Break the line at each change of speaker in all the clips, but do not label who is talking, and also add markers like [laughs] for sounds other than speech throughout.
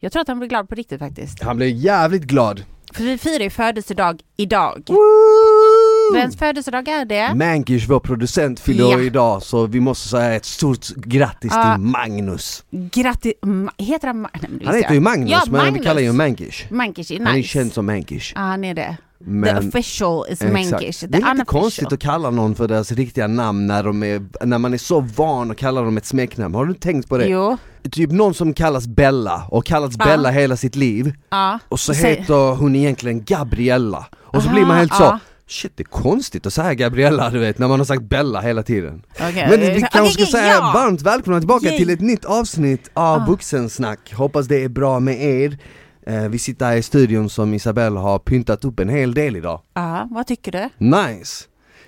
Jag tror att han blir glad på riktigt faktiskt.
Han blev jävligt glad.
För vi firar ju födelsedag idag. Vems födelsedag är det?
Mankish, vår producent, fyller
Ja.
år idag så vi måste säga ett stort grattis
Ja.
till Magnus.
Grattis... Ma- heter han Ma- Nej, men det
Han
visste
heter
jag.
ju Magnus
ja,
men
Magnus.
vi kallar ju Mankish.
Mankish är nice.
Han är känd som Mankish.
Ja, han är det.
Men-
The official is
Exakt.
Mankish. The
Det är lite
unofficial.
konstigt att kalla någon för deras riktiga namn när, de är, när man är så van att kalla dem ett smeknamn. Har du tänkt på det?
Jo.
Typ någon som kallas Bella och kallats
Ja.
Bella hela sitt liv
Ja.
och så
Säg-
heter hon egentligen Gabriella. Och så
Aha,
blir man helt så,
ja.
shit det är konstigt att säga Gabriella du vet när man har sagt Bella hela tiden.
Okej.
Men vi
Okej,
kanske ska
okej,
säga
ja.
varmt välkomna tillbaka
Yay. Ah.
till ett nytt avsnitt av Vuxensnack. Hoppas det är bra med er. Eh, Vi sitter här i studion som Isabelle har pyntat upp en hel del idag.
Ja, vad tycker du?
Nice!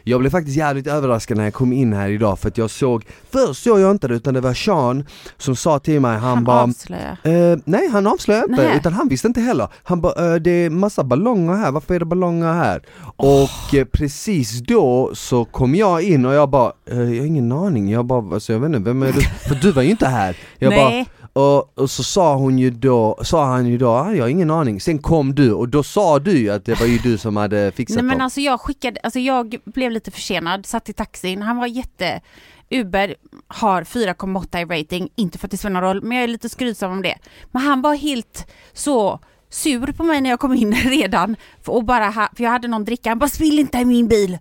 Jag blev faktiskt jävligt överraskad när jag kom in här idag för att jag såg, först såg jag inte det utan det var Sean som sa till mig, han,
Han
bara
avslöjar.
eh, nej han avslöjade inte,
Nej.
utan han visste inte heller. Han bara, eh, det är massa ballonger här, varför är det ballonger här? Och eh, precis då så kom jag in och jag bara, eh, jag har ingen aning, jag bara, alltså, jag vet inte,
[laughs]
vem är du? För du var ju inte här. Jag
Nej.
bara, och, och så sa hon ju då, sa han ju då, ah, jag har ingen aning. Sen kom du och då sa du ju att det var ju du som hade fixat
Nej men
dem.
alltså jag skickade, alltså jag blev lite försenad, satt i taxin, han var jätte... Uber har 4,8 i rating, inte för att det spelar någon roll, men jag är lite skrytsam om det. Men han var helt så sur på mig när jag kom in [laughs] redan, för, och bara, ha- för jag hade någon dricka, han bara spill inte i min bil.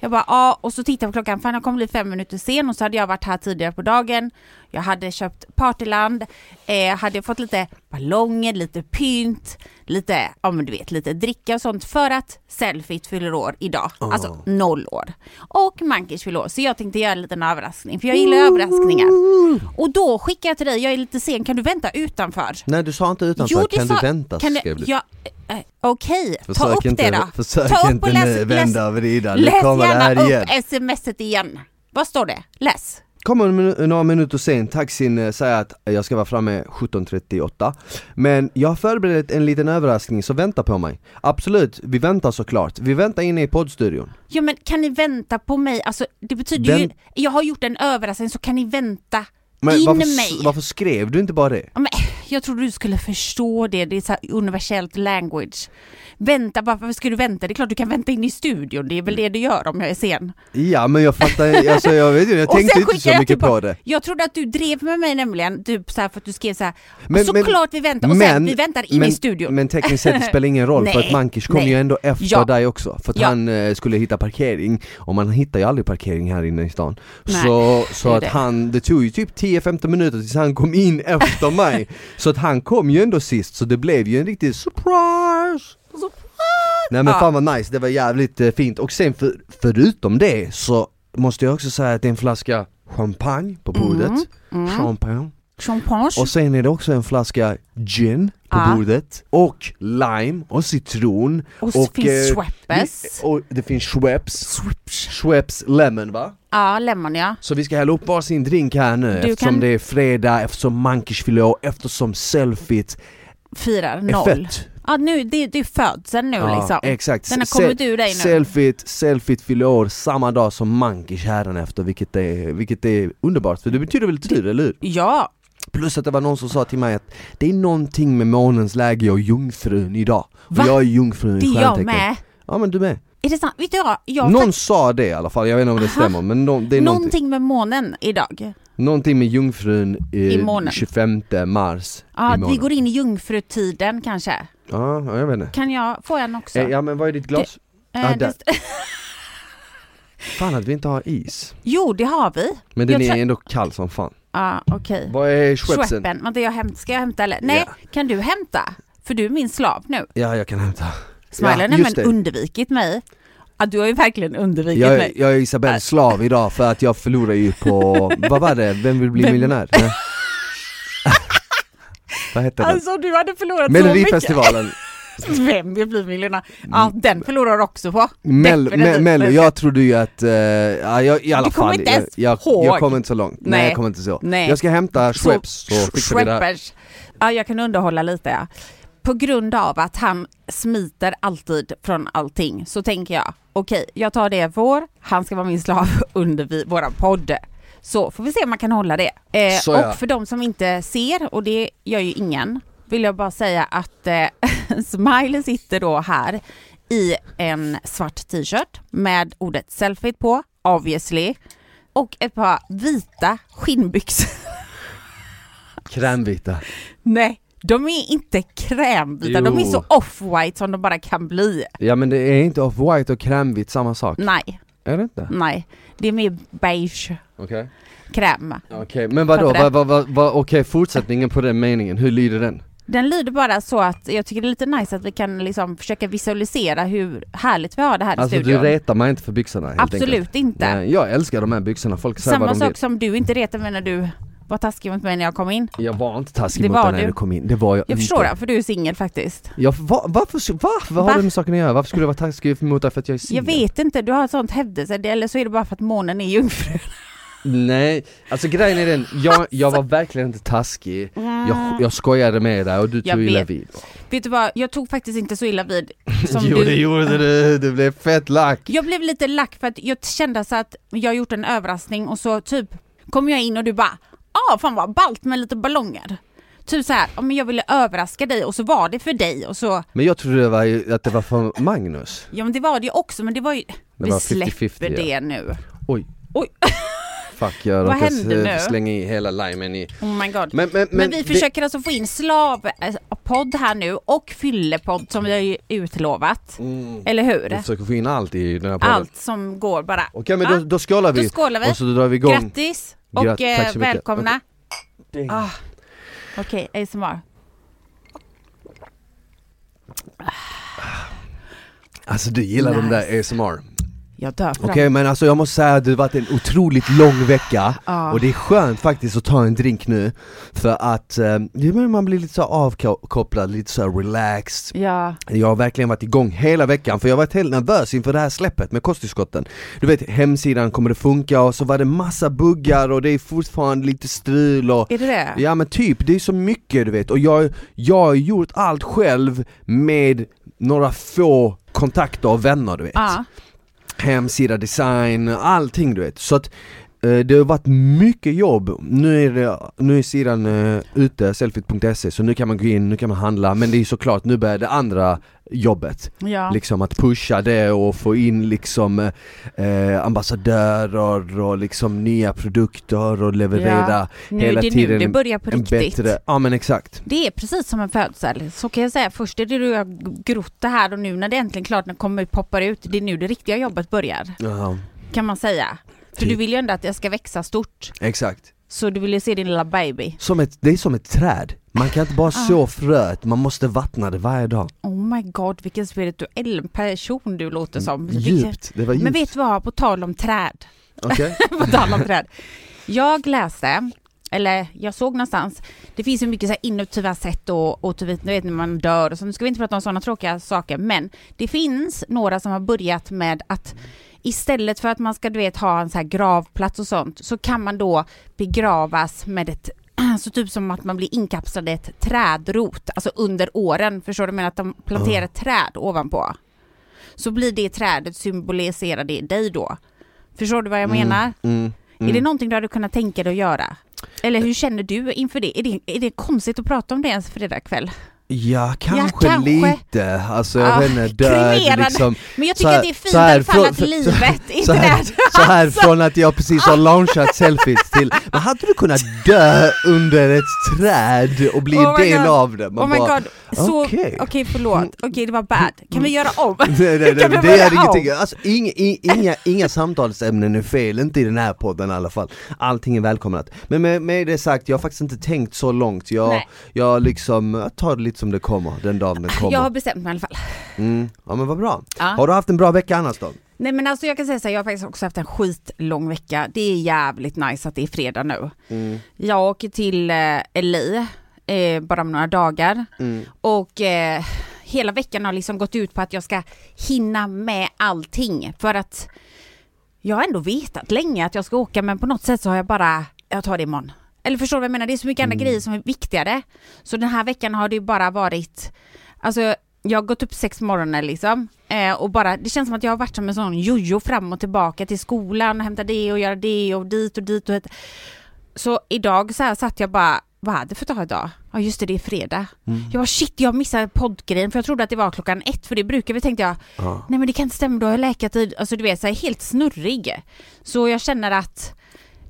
Jag bara ja, och så tittade jag på klockan, fan jag kommer bli fem minuter sen och så hade jag varit här tidigare på dagen. Jag hade köpt partyland, eh, hade fått lite ballonger, lite pynt, lite, ja men du vet, lite dricka och sånt för att Selfit fyller år idag, alltså noll år. Och Mankish fyller år, så jag tänkte göra en liten överraskning, för jag gillar överraskningar. Och då skickade jag till dig, jag är lite sen, kan du vänta utanför?
Nej du sa inte utanför,
det
kan
sa-
du vänta?
kan du-
skrev du.
Ja, eh, Okej, ta
Försök
upp
inte,
det då.
Försök
ta upp
inte
och
nu
läs, läs,
vända och vrida, nu
Läs
kommer det
gärna
här igen.
upp smset igen. Vad står det? Läs.
Kommer en minu- några minuter sen, taxin eh, säger att jag ska vara framme 17.38 Men jag har förberett en liten överraskning, så vänta på mig Absolut, vi väntar såklart, vi väntar inne i poddstudion
Ja men kan ni vänta på mig? Alltså det betyder ju,
Vänt-
jag har gjort en överraskning så kan ni vänta
Men
in
varför, s-
mig.
varför skrev du inte bara det?
Ja, men, jag trodde du skulle förstå det, det är så här universellt language. Vänta, varför ska du vänta? Det är klart du kan vänta in i studion, det är väl det du gör om jag är sen.
Ja men jag fattar, alltså jag
[laughs]
vet ju, jag tänkte inte så
skickar jag
mycket på
tillbaka-
det
Jag trodde att du drev med mig nämligen, typ så här för att du skrev så här.
Men-
såklart vi väntar, och sen vi väntar in
men,
i studion.
Men
[laughs]
tekniskt sett det spelar ingen roll för
Nej,
att Mankish kom
nej.
ju ändå efter
Ja.
dig också För att
Ja.
han eh, skulle hitta parkering, och man hittar ju aldrig parkering här inne i stan
Nej,
Så, så
det är
att
det.
han, det tog ju typ 10-15 minuter tills han
[laughs]
kom in efter mig Så att han kom ju ändå sist, så det blev ju en riktig surprise! Nej men
Ja.
fan vad nice, det var jävligt eh, fint och sen för, förutom det så måste jag också säga att det är en flaska champagne på bordet
Mm,
Champagne
Champagne.
och sen är det också en flaska gin på
Ja.
bordet och lime och citron
Och så finns
eh,
Schweppes.
vi- Och det finns Schweppes Schweppes lemon va?
Ja, lemon ja.
Så vi ska hälla upp varsin drink här nu
Du
eftersom
kan-
det är fredag, eftersom Mankish fyller år, eftersom selfiet
Fyrar
är
noll.
fett
Ja, nu, det, det är födseln nu
Ja,
liksom.
Exakt,
Den har
Sel-
kommit ur dig nu.
Selfiet, selfiet fyller år samma dag som Mankish efter vilket är, vilket är underbart för det betyder väl tur, eller hur?
Ja,
Plus att det var någon som sa till mig att det är någonting med månens läge och jungfrun idag.
Va?
Och jag är jungfrun
det
i
är jag
stjärntecken.
med.
Ja men du med.
Är det sant? Vet du vad? Jag har
någon
faktiskt
sa det i alla fall, jag vet inte om det
Aha.
stämmer men nå- det är någonting.
någonting med månen idag.
någonting med jungfrun eh,
I månen.
25 mars
Ja,
i
vi
månen.
går in i jungfrutiden kanske.
Ja, ja, jag vet inte.
Kan jag, får jag en också?
Eh, ja men vad är ditt glas?
Eh,
ah, där.
det st-
Fan att vi inte har is.
jo, det har vi.
Men den
Jag
är
tror-
ändå kall som fan.
Ja, okej.
Vad är schwepsen?
Schweppen. Vänta, jag hämt, ska jag hämta eller? Nej, kan du hämta? För du är min slav nu.
Ja jag kan hämta.
Smiley har
just
nämligen
det.
undvikit mig. Ja, du har ju verkligen undvikit
Jag, är-
mig.
jag är Isabells slav idag för att jag förlorar ju på,
[laughs]
vad var det, Vem vill bli
Vem- [laughs]
miljonär? Nej. [laughs] vad hette den?
Alltså du hade förlorat så mycket.
Melodifestivalen,
Vem vill bli miljonär? Ja, den förlorar du också på. [laughs]
Mel,
Definitivt.
me, Mello, jag trodde ju att, eh, ja, jag, i alla
Du kommer
fall,
inte ens
jag, jag,
ihåg.
jag kommer inte så långt, nej,
Nej.
jag kommer inte så.
Nej.
Jag ska hämta Schweppes så, fixar vi det här.
Schweppers. Ja, jag kan underhålla lite. Ja. På grund av att han smiter alltid från allting så tänker jag, okej, jag tar det jag får, han ska vara min slav [laughs] under vi, våran podd. Så får vi se om man kan hålla det. Eh,
Så
och
ja.
för de som inte ser, och det gör ju ingen, vill jag bara säga att eh, [laughs] Smiley sitter då här i en svart t-shirt med ordet selfie på, obviously, och ett par vita skinnbyxor.
Krämvita.
Nej, de är inte krämvita, de är
Jo.
så off-white som de bara kan bli.
Ja men det är inte off-white och krämvitt samma sak?
Nej,
Är det inte?
nej, det är mer beige
Okej.
kräm.
Okej, men vadå?
Fattar det.
Vad, vad, vad, vad, Okej, fortsättningen på den meningen, hur lyder den?
Den lyder bara så att jag tycker det är lite nice att vi kan liksom försöka visualisera hur härligt vi har det här
Alltså
i studion.
du retar mig inte för byxorna helt
Absolut
enkelt.
inte.
Nej, jag älskar de här byxorna, folk säger
Samma
vad de
sak
vill.
som du inte retar mig när du var taskig mot mig när jag kom in.
Jag var inte
Det
taskig mot
var
dig när
du.
du kom in, det var jag,
Jag
inte.
förstår det, för du är singel faktiskt.
Jag, va, varför, va, vad
Va?
har det med saken att göra? Varför skulle jag vara taskig mot dig för att jag är singel?
Jag vet inte, du har ett sånt hävdelse, eller så är det bara för att månen är jungfru.
Nej, alltså grejen är den, jag, jag var verkligen inte taskig jag, jag skojade med dig och du
Ah. Jag
tog illa
vet.
vid
Vet du vad, jag tog faktiskt inte så illa vid som
Jo
du.
det gjorde du, du blev fett lack!
Jag blev lite lack för att jag kände så att jag har gjort en överraskning och så typ kom jag in och du bara ah fan vad ballt med lite ballonger. Typ så här, "Ja, men jag ville överraska dig och så var det för dig och så,
Men jag trodde det var, ju- att det var för Magnus
ja men det var det ju också men det var ju, vi
var 50-50,
släpper
ja.
det nu.
Oj
Oj.
Fuck jag
Vad
råkade
hände
s-
nu?
slänga i hela limen i
Oh my god. Men,
Men, men, men,
vi
det-
försöker alltså få in slavpodd här nu och fyllepodd som vi har ju utlovat.
mm,
Eller hur?
Vi försöker få in allt i den här podden
Allt som går bara.
Okej men
Ja,
då, då skålar vi!
då skålar vi.
Och så drar vi igång
Grattis och
Grat- tack
eh,
så mycket.
välkomna.
Ding.
Ah. Okej, ASMR.
Alltså du gillar de där
Nice.
ASMR
Jag dör för
Okej men alltså jag måste säga att det har varit en otroligt lång vecka
Ja.
och det är skönt faktiskt att ta en drink nu För att eh, det är bara man blir lite så avkopplad, lite så här relaxed
Ja,
Jag har verkligen varit igång hela veckan för jag har varit helt nervös inför det här släppet med kosttillskotten Du vet hemsidan kommer det funka och så var det massa buggar och det är fortfarande lite strul och
är det det?
Ja men typ, det är så mycket du vet och jag, jag har gjort allt själv med några få kontakter och vänner du vet
Ja.
hemsida, design, allting du vet. Så att eh, det har varit mycket jobb. Nu är, det, nu är sidan eh, ute, selfit.se, så nu kan man gå in, nu kan man handla. Men det är såklart, nu börjar det andra jobbet.
ja.
Liksom att pusha det och få in liksom eh, ambassadörer och liksom nya produkter och leverera
nu,
hela
det är nu
tiden
det börjar på
en
riktigt.
bättre, ja men exakt.
Det är precis som en födsel, så kan jag säga. Först är det du har grott det här och nu när det äntligen klart, när kommer poppar ut, det är nu det riktiga jobbet börjar.
Ja,
Kan man säga. För
Typ.
du vill ju ändå att jag ska växa stort,
exakt.
så du vill ju se din lilla baby.
Som ett, det är som ett träd, man kan inte bara så fröet, man måste vattna det varje dag.
Oh my god, vilken spirituell person du låter som. Vilken-
Mm, Djupt, det var djupt.
Men vet du vad, på tal om träd.
Okej.
[laughs] på tal om träd. Jag läste, eller jag såg någonstans, det finns ju mycket så här innovativa sätt och, och typ, du vet när man dör och så, nu ska vi inte prata om sådana tråkiga saker, men det finns några som har börjat med att istället för att man ska du vet ha en så här gravplats och sånt, så kan man då begravas med ett [clears throat] så typ som att man blir inkapslad i ett trädrot, alltså under åren, förstår du? Men att de planterar ett träd ovanpå. Så blir det trädet symboliserar det dig då. Förstår du vad jag menar?
Mm.
Är det någonting du hade kunnat tänka dig att göra? Eller hur känner du inför det? Är det, är det konstigt att prata om det ens fredagkväll?
Ja kanske,
kanske. Ah,
lite, alltså jag
Ja,
vet inte, död
kremerad.
liksom
[laughs] Men jag
Så
tycker
här-
att det är fint
så här
i alla fall
från-
att
så-
livet
[laughs]
inte
så här,
är...
så här
Alltså.
från att jag precis
Ah.
har launchat selfies till, men hade du kunnat dö under ett träd och bli
Oh
en
my
del
God.
av det? Man
Oh my
bara,
god, så...
okej. Mm.
Okej förlåt, okej det var bad. Kan vi göra
[laughs]
om?
[laughs] Nej, nej, nej,
Kan vi
det
börja
gör
om?
ingenting, alltså, inga, inga, inga samtalsämnen är fel, inte i den här podden i alla fall Allting är välkomnat Men med, med det sagt, jag har faktiskt inte tänkt så långt, jag,
Nej. Ah,
jag liksom, jag tar det lite som det kommer, den dagen det
Jag Ah. har
kommer
bestämt mig i alla fall.
mm. Ja men vad bra,
Ja.
har du haft en bra vecka annars då?
Nej men alltså jag kan säga så här, jag har faktiskt också haft en skitlång vecka. Det är jävligt nice att det är fredag nu. Jag åker till eh, LA eh, bara om några dagar. Och eh, hela veckan har liksom gått ut på att jag ska hinna med allting. För att jag har ändå vetat länge att jag ska åka men på något sätt så har jag bara, jag tar det imorgon. Eller förstår du vad jag menar? Det är så mycket andra grejer som är viktigare. Så den här veckan har det ju bara varit, alltså jag har gått upp sex på morgonen liksom. Eh, och bara, det känns som att jag har varit som en sån jojo fram och tillbaka till skolan, hämta det och göra det och dit och dit och hit. Så idag så här satt jag bara, vad är det för dag idag? Ja just det, det är fredag.
Mm.
Jag bara shit, jag missade poddgrejen för jag trodde att det var klockan ett för det brukar vi tänkte jag,
Ja.
nej men det kan inte stämma, då har jag läkartid. Alltså du vet, så här, helt snurrig. Så jag känner att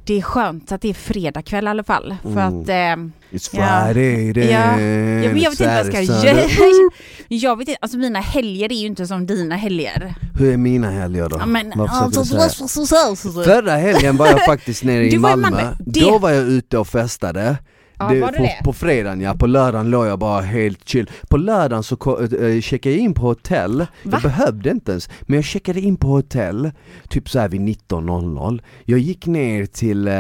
det är skönt att det är fredag kväll i alla fall. För
Mm.
att eh,
It's
Ja.
Friday then,
Ja, men jag vet inte vad jag ska
Saturday,
göra.
Sunday.
Jag vet inte, alltså mina helger är ju inte som dina helger.
Hur är mina helger då?
Ja, men,
Vad försöker
alltså,
jag säga?
så- så- så- så- så.
Förra helgen var
[laughs]
jag faktiskt nere
Du
i
var i
Malmö,
Malmö. Det-
då var jag ute och festade
Ja,
Det-
var det
på,
det?
på fredagen ja, på lördagen låg jag bara helt chill På lördagen så ko- eh, checkade jag in på hotell,
Va?
jag behövde inte ens Men jag checkade in på hotell, typ så här vid 19.00 Jag gick ner till eh,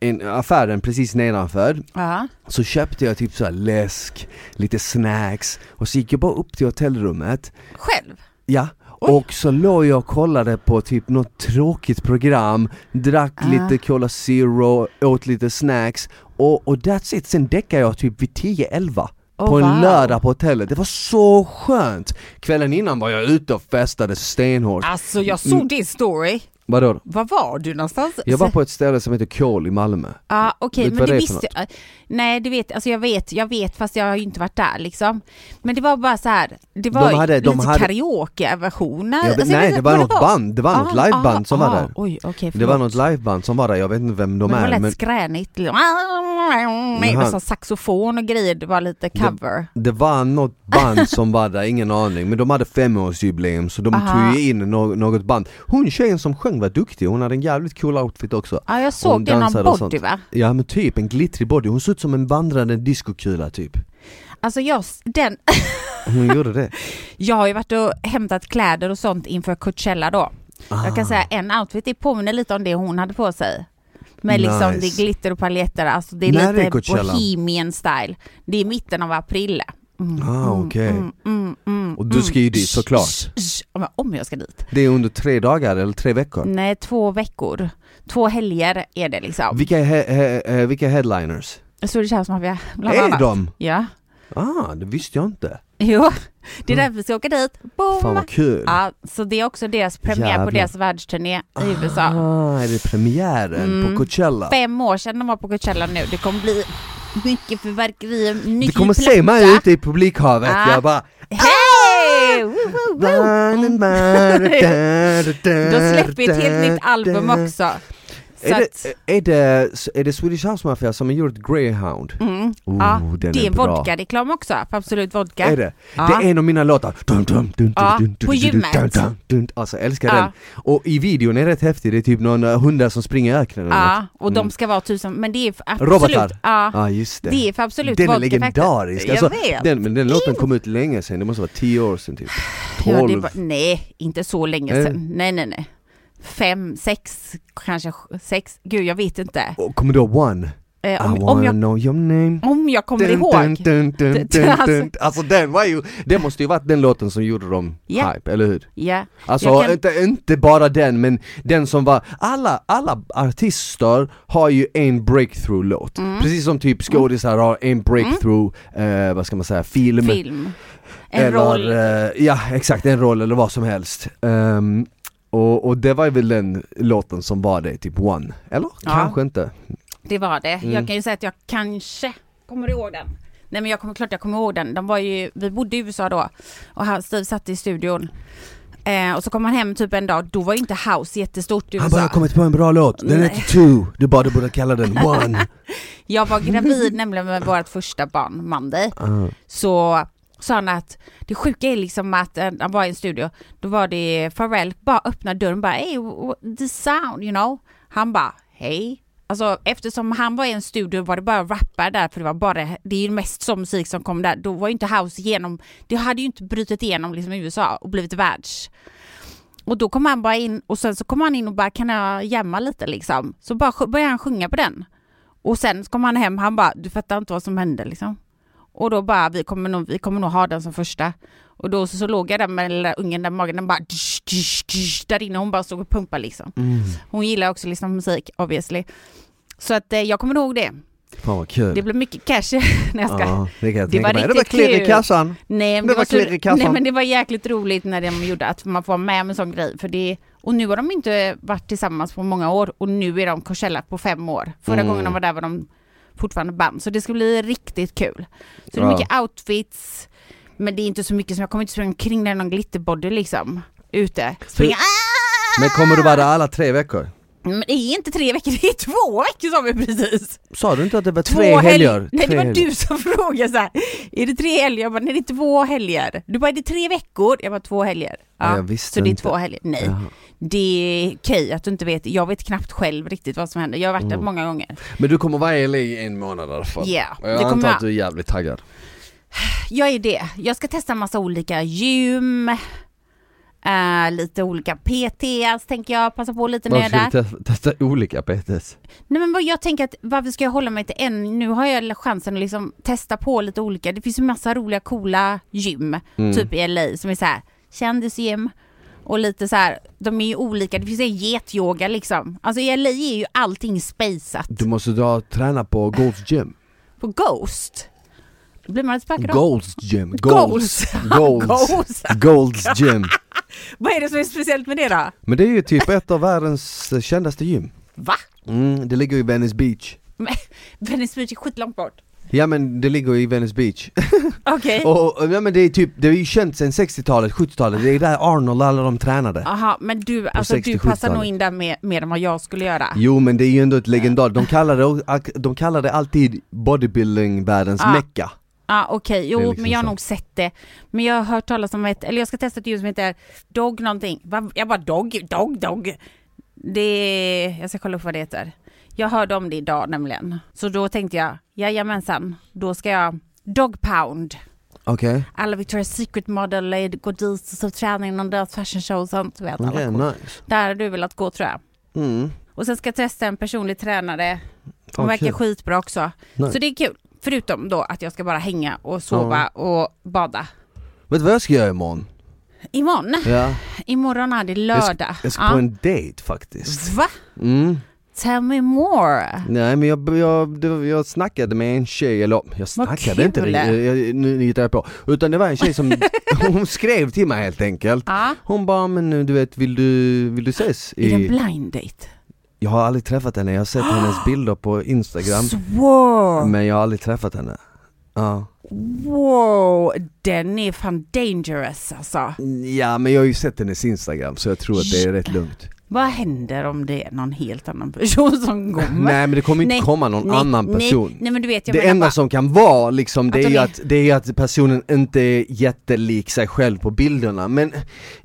en, affären precis nedanför
Ja.
så köpte jag typ så här läsk, lite snacks och så gick jag bara upp till hotellrummet
Själv?
Ja,
Oj.
och så låg jag och kollade på typ något tråkigt program, drack
Ah.
lite Cola Zero, åt lite snacks och, och that's it, sen däckade jag typ vid 10-11
Åh,
på en
wow.
lördag på hotellet, det var så skönt! Kvällen innan var jag ute och festade stenhårt
Alltså jag såg din story.
Vadå? då?
Var var du någonstans?
Jag var på ett ställe som heter Kål i Malmö
Ja okej
Vet
men
vad
det
det är för
visste jag. Nej det vet, alltså jag vet, jag vet fast jag har ju inte varit där liksom. Men det var bara så här, det var
De hade- de
lite
hade-
karaokeversioner.
jag, vet-
Alltså, jag vet
Nej
inte,
det var något
bara-
band, det var något
Ah,
liveband som
ah,
var
ah.
där
Oj okej
Det var något liveband som var där, jag vet inte vem de
men det var
är men
lätt skränigt. liksom. Med
han-
så saxofon och grejer, det var lite cover.
Det var
[laughs]
något band som var där, ingen aning, men de hade femårsjubileum så de
Aha.
tog ju in nå- något band Hon tjejen som sjöng var duktig, hon hade en jävligt cool outfit också
Ja jag
Hon
såg det, någon
dansade och
body
sånt.
va?
Ja men typ, en glittrig body, hon såg ut som en vandrande discokula typ
Alltså jag, den, [laughs]
Hon gjorde det
jag har ju varit och hämtat kläder och sånt inför Coachella då. [laughs] Jag
Ah.
kan säga en outfit, det påminner lite om det hon hade på sig. Med liksom
Nice.
det är glitter och paljetter, alltså det är
När är
lite
Coachella?
bohemian style. Det är mitten av april. Mm,
Ah,
mm,
okej.
mm, mm, mm,
Och du ska ju dit,
Sh-
såklart.
sh- sh. Ja, men Om jag ska dit.
Ah, Det är under tre dagar eller tre veckor
Nej, två veckor. Två helger är det liksom.
Vilka, he- he- eh, vilka headliners?
Swedish House Mafia bland
Är
annat.
de?
Ja, [laughs]
Ah, det visste jag inte
jo. Det är
Mm.
därför vi ska åka dit. Boom!
Fan vad kul
Ja, så det är också deras premiär på
Jävlar.
deras världsturné i USA.
Ah, är det premiären
Mm.
på Coachella?
Fem år sedan de var på Coachella nu, det kommer bli mycket fyrverkerier,
Du
mycket
kommer
platta.
se mig ute i publikhavet,
Ah. Eh,
jag bara
Hej!
Ah!
Woo, woo, [laughs] woo. De släpper ett helt nytt album också. Så
Är
att,
det, är, det, är det Swedish House Mafia som har gjort Greyhound?
mm,
Oh,
Ja,
den
det är en
bra.
vodka-reklam också, för Absolut Vodka.
Är det?
Ja.
Det är en av mina låtar. Dun, dun, dun,
Ja,
dun, dun,
på
dun, dun,
gymmet.
dun, dun, dun. Alltså jag älskar
Ja.
den. Och i videon är det rätt häftig, det är typ någon eh, hundar som springer i öknen eller något.
Ja, och de
Mm.
ska vara tusen, men det är för absolut,
Robotar.
ja,
Ja ah, just det.
det är för absolut
den är
vodka faktiskt.
legendarisk.
Jag
Alltså,
vet.
den, men den låten kom ut länge sedan, det måste vara 10 år sedan typ.
Ja, det
12.
var, nej, inte så länge
Nej.
sedan. Nej, nej, nej. Fem, sex, kanske sj- sex, gud jag vet inte.
Och kommer du ihåg One?
Eh,
I
om, om,
wanna
jag,
know your name
om jag kommer
Dun,
ihåg.
dun, dun, dun,
Det-
dun,
alltså-
dun. Alltså den var ju, det måste ju varit den låten som gjorde dem
Ja.
hype, eller hur?
Ja.
Alltså
Jag kan-
inte, inte bara den men den som var, alla, alla artister har ju en breakthrough-låt Precis som typ skådisar har en breakthrough, eh, vad ska man säga, film,
film. En roll.
eh, Ja exakt, en roll eller vad som helst Ehm, och, och det var väl den låten som var det, typ One, eller?
Ja.
Kanske inte
Det var det.
Mm.
Jag kan ju säga att jag kanske kommer ihåg den. Nej men jag kommer klart jag kommer ihåg den. De var ju, vi bodde i USA då och han- Steve satt i studion. Eh, och så kom han hem typ en dag, då var ju inte house jättestort i USA.
Han bara, jag har kommit på en bra låt, den
Nej.
heter Two, du bara du borde
[laughs]
kalla den One
Jag var gravid nämligen med vårt första barn, Mandy.
Ah.
Så sa han att det sjuka är liksom att eh, han var i en studio, då var det Pharrell, bara öppna dörren bara hey, wh- the sound you know. Han bara hej. Alltså eftersom han var i en studio var det bara rappare där för det var bara, det är ju mest sån musik som kom där. Då var ju inte house igenom, det hade ju inte brutit igenom liksom i USA och blivit världs. Och då kom han bara in och sen så kom han in och bara kan jag jamma lite liksom. Så bara sj- började han sjunga på den. Och sen kom han hem, han bara du fattar inte vad som hände liksom. Och då bara, vi kommer nog, vi kommer nog ha den som första. Och då så, så låg jag där med den lilla ungen där i magen, den bara dsch, dsch, dsch, där inne, hon bara stod och pumpade liksom.
Mm.
Hon gillar också att lyssna på musik obviously. Så att eh, jag kommer ihåg det.
Fan vad kul
Det blev mycket cash [laughs] när jag ska.
Ja, det kan jag
Det
tänka
var
mig. Det var
riktigt
klirr i
kul.
kassan
Nej, men
Det
det,
var
var
klirr i
så,
kassan.
nej men det var jäkligt roligt när de gjorde att man får vara med om en sån grej. För det, och nu har de inte varit tillsammans på många år och nu är de Coachella på fem år. Förra
Mm.
gången de var där var de fortfarande band. Så det ska bli riktigt kul. Så det
Ja.
är mycket outfits, men det är inte så mycket som, jag kommer inte springa omkring där i någon glitterbody liksom. Ute. Springa, "Ah!"
Men kommer du vara där alla tre veckor?
Men det är inte tre veckor, [laughs] det är två veckor som vi precis.
Sa du inte att det var
Två
tre helger?
Nej det
Tre
var
helger.
du som [laughs] frågade så här. är det tre helger? Jag bara, nej det är två helger. Du bara, är det tre veckor? Jag bara, två helger.
Ja, jag visste
så det är
inte.
två helger. Nej,
Jaha.
det är okej att du inte vet. Jag vet knappt själv riktigt vad som händer. Jag har varit där
Oh.
många gånger.
Men du kommer vara i LA i en månad i alla fall?
Ja,
Och
det
Jag
kommer
antar att
jag.
du är jävligt taggad?
Jag är det. Jag ska testa en massa olika gym, eh, lite olika PTs tänker jag passa på lite när jag är där.
ska du testa olika PTs?
Nej men vad jag tänker att varför ska jag hålla mig till en? Nu har jag chansen att liksom testa på lite olika. Det finns ju massa roliga coola gym,
Mm.
typ i LA som är så här kändisgym och lite så här, de är ju olika. Det finns en getyoga liksom. Alltså i LA är ju allting spejsat.
Du måste dra och träna på Goals Gym
På Ghost blir man spökad av?
Goals Gym,
Goals.
Goals,
[laughs]
Goals,
Goals.
Goals Gym
Vad är det som är speciellt med det då?
Men det är ju typ ett av världens eh, kändaste gym
Va?
mm, Det ligger i Venice Beach
Men- [laughs] Venice Beach är skitlångt bort.
Ja men det ligger i Venice Beach
Okej.
[laughs] Och, och ja, men det är typ, det är ju känt sedan 60-talet, 70-talet, det är där Arnold och alla de tränade
Aha, men du, alltså, du
67-talet.
passar nog in där mer, mer än vad jag skulle göra.
Jo men det är ju ändå ett legendar, de kallar det, de kallar det alltid bodybuilding-världens
Ja.
mecka
Ja Ah, okej, jo
Det är liksom
men jag har
så.
nog sett det. Men jag har hört talas om ett, eller jag ska testa ett ljud som heter Dog någonting. Va? Jag bara Dog, Dog, Dog. Det, jag ska kolla upp vad det heter. Jag hörde om det idag nämligen. Så då tänkte jag, jajamensan, då ska jag Dog Pound.
Okej,
Alla Victoria's Secret model går dit och så tränar inom deras fashion show och sånt. Vet alla.
okej, nice
Där har du velat gå tror jag.
mm.
Och sen ska jag testa en personlig tränare.
Fan,
Hon verkar
kul.
skitbra också.
Nice.
Så det är kul. Förutom då att jag ska bara hänga och sova och bada.
Vet du vad jag ska göra imorgon?
Imorgon,
Ja.
imorgon är det lördag.
Jag ska
Ja.
på en dejt faktiskt
Va?
mm.
Tell me more.
Nej men jag, jag, det var- jag snackade med en tjej, eller jag snackade
kul.
inte riktigt, jag- nu nu hittar jag på Utan det var en tjej som, hon skrev till mig helt enkelt
Ja.
Hon bara, men du vet, vill du, vill du ses?
Är det en
I...
blind date?
Jag har aldrig träffat henne, jag har sett
[gasps]
hennes bilder på instagram
Swore.
Men jag har aldrig träffat henne Ja,
Wow, den är fan dangerous alltså.
ja men jag har ju sett hennes instagram så jag tror att det är rätt lugnt
Vad händer om det är någon helt annan person som kommer?
[laughs] Nej men det kommer inte
Nej, komma
komma någon annan person
Nej, nej men du vet, jag
Det
menar
enda
bara,
som kan vara liksom, det
Att
är
de
ju
är-
att, det är ju att personen inte är jättelik sig själv på bilderna Men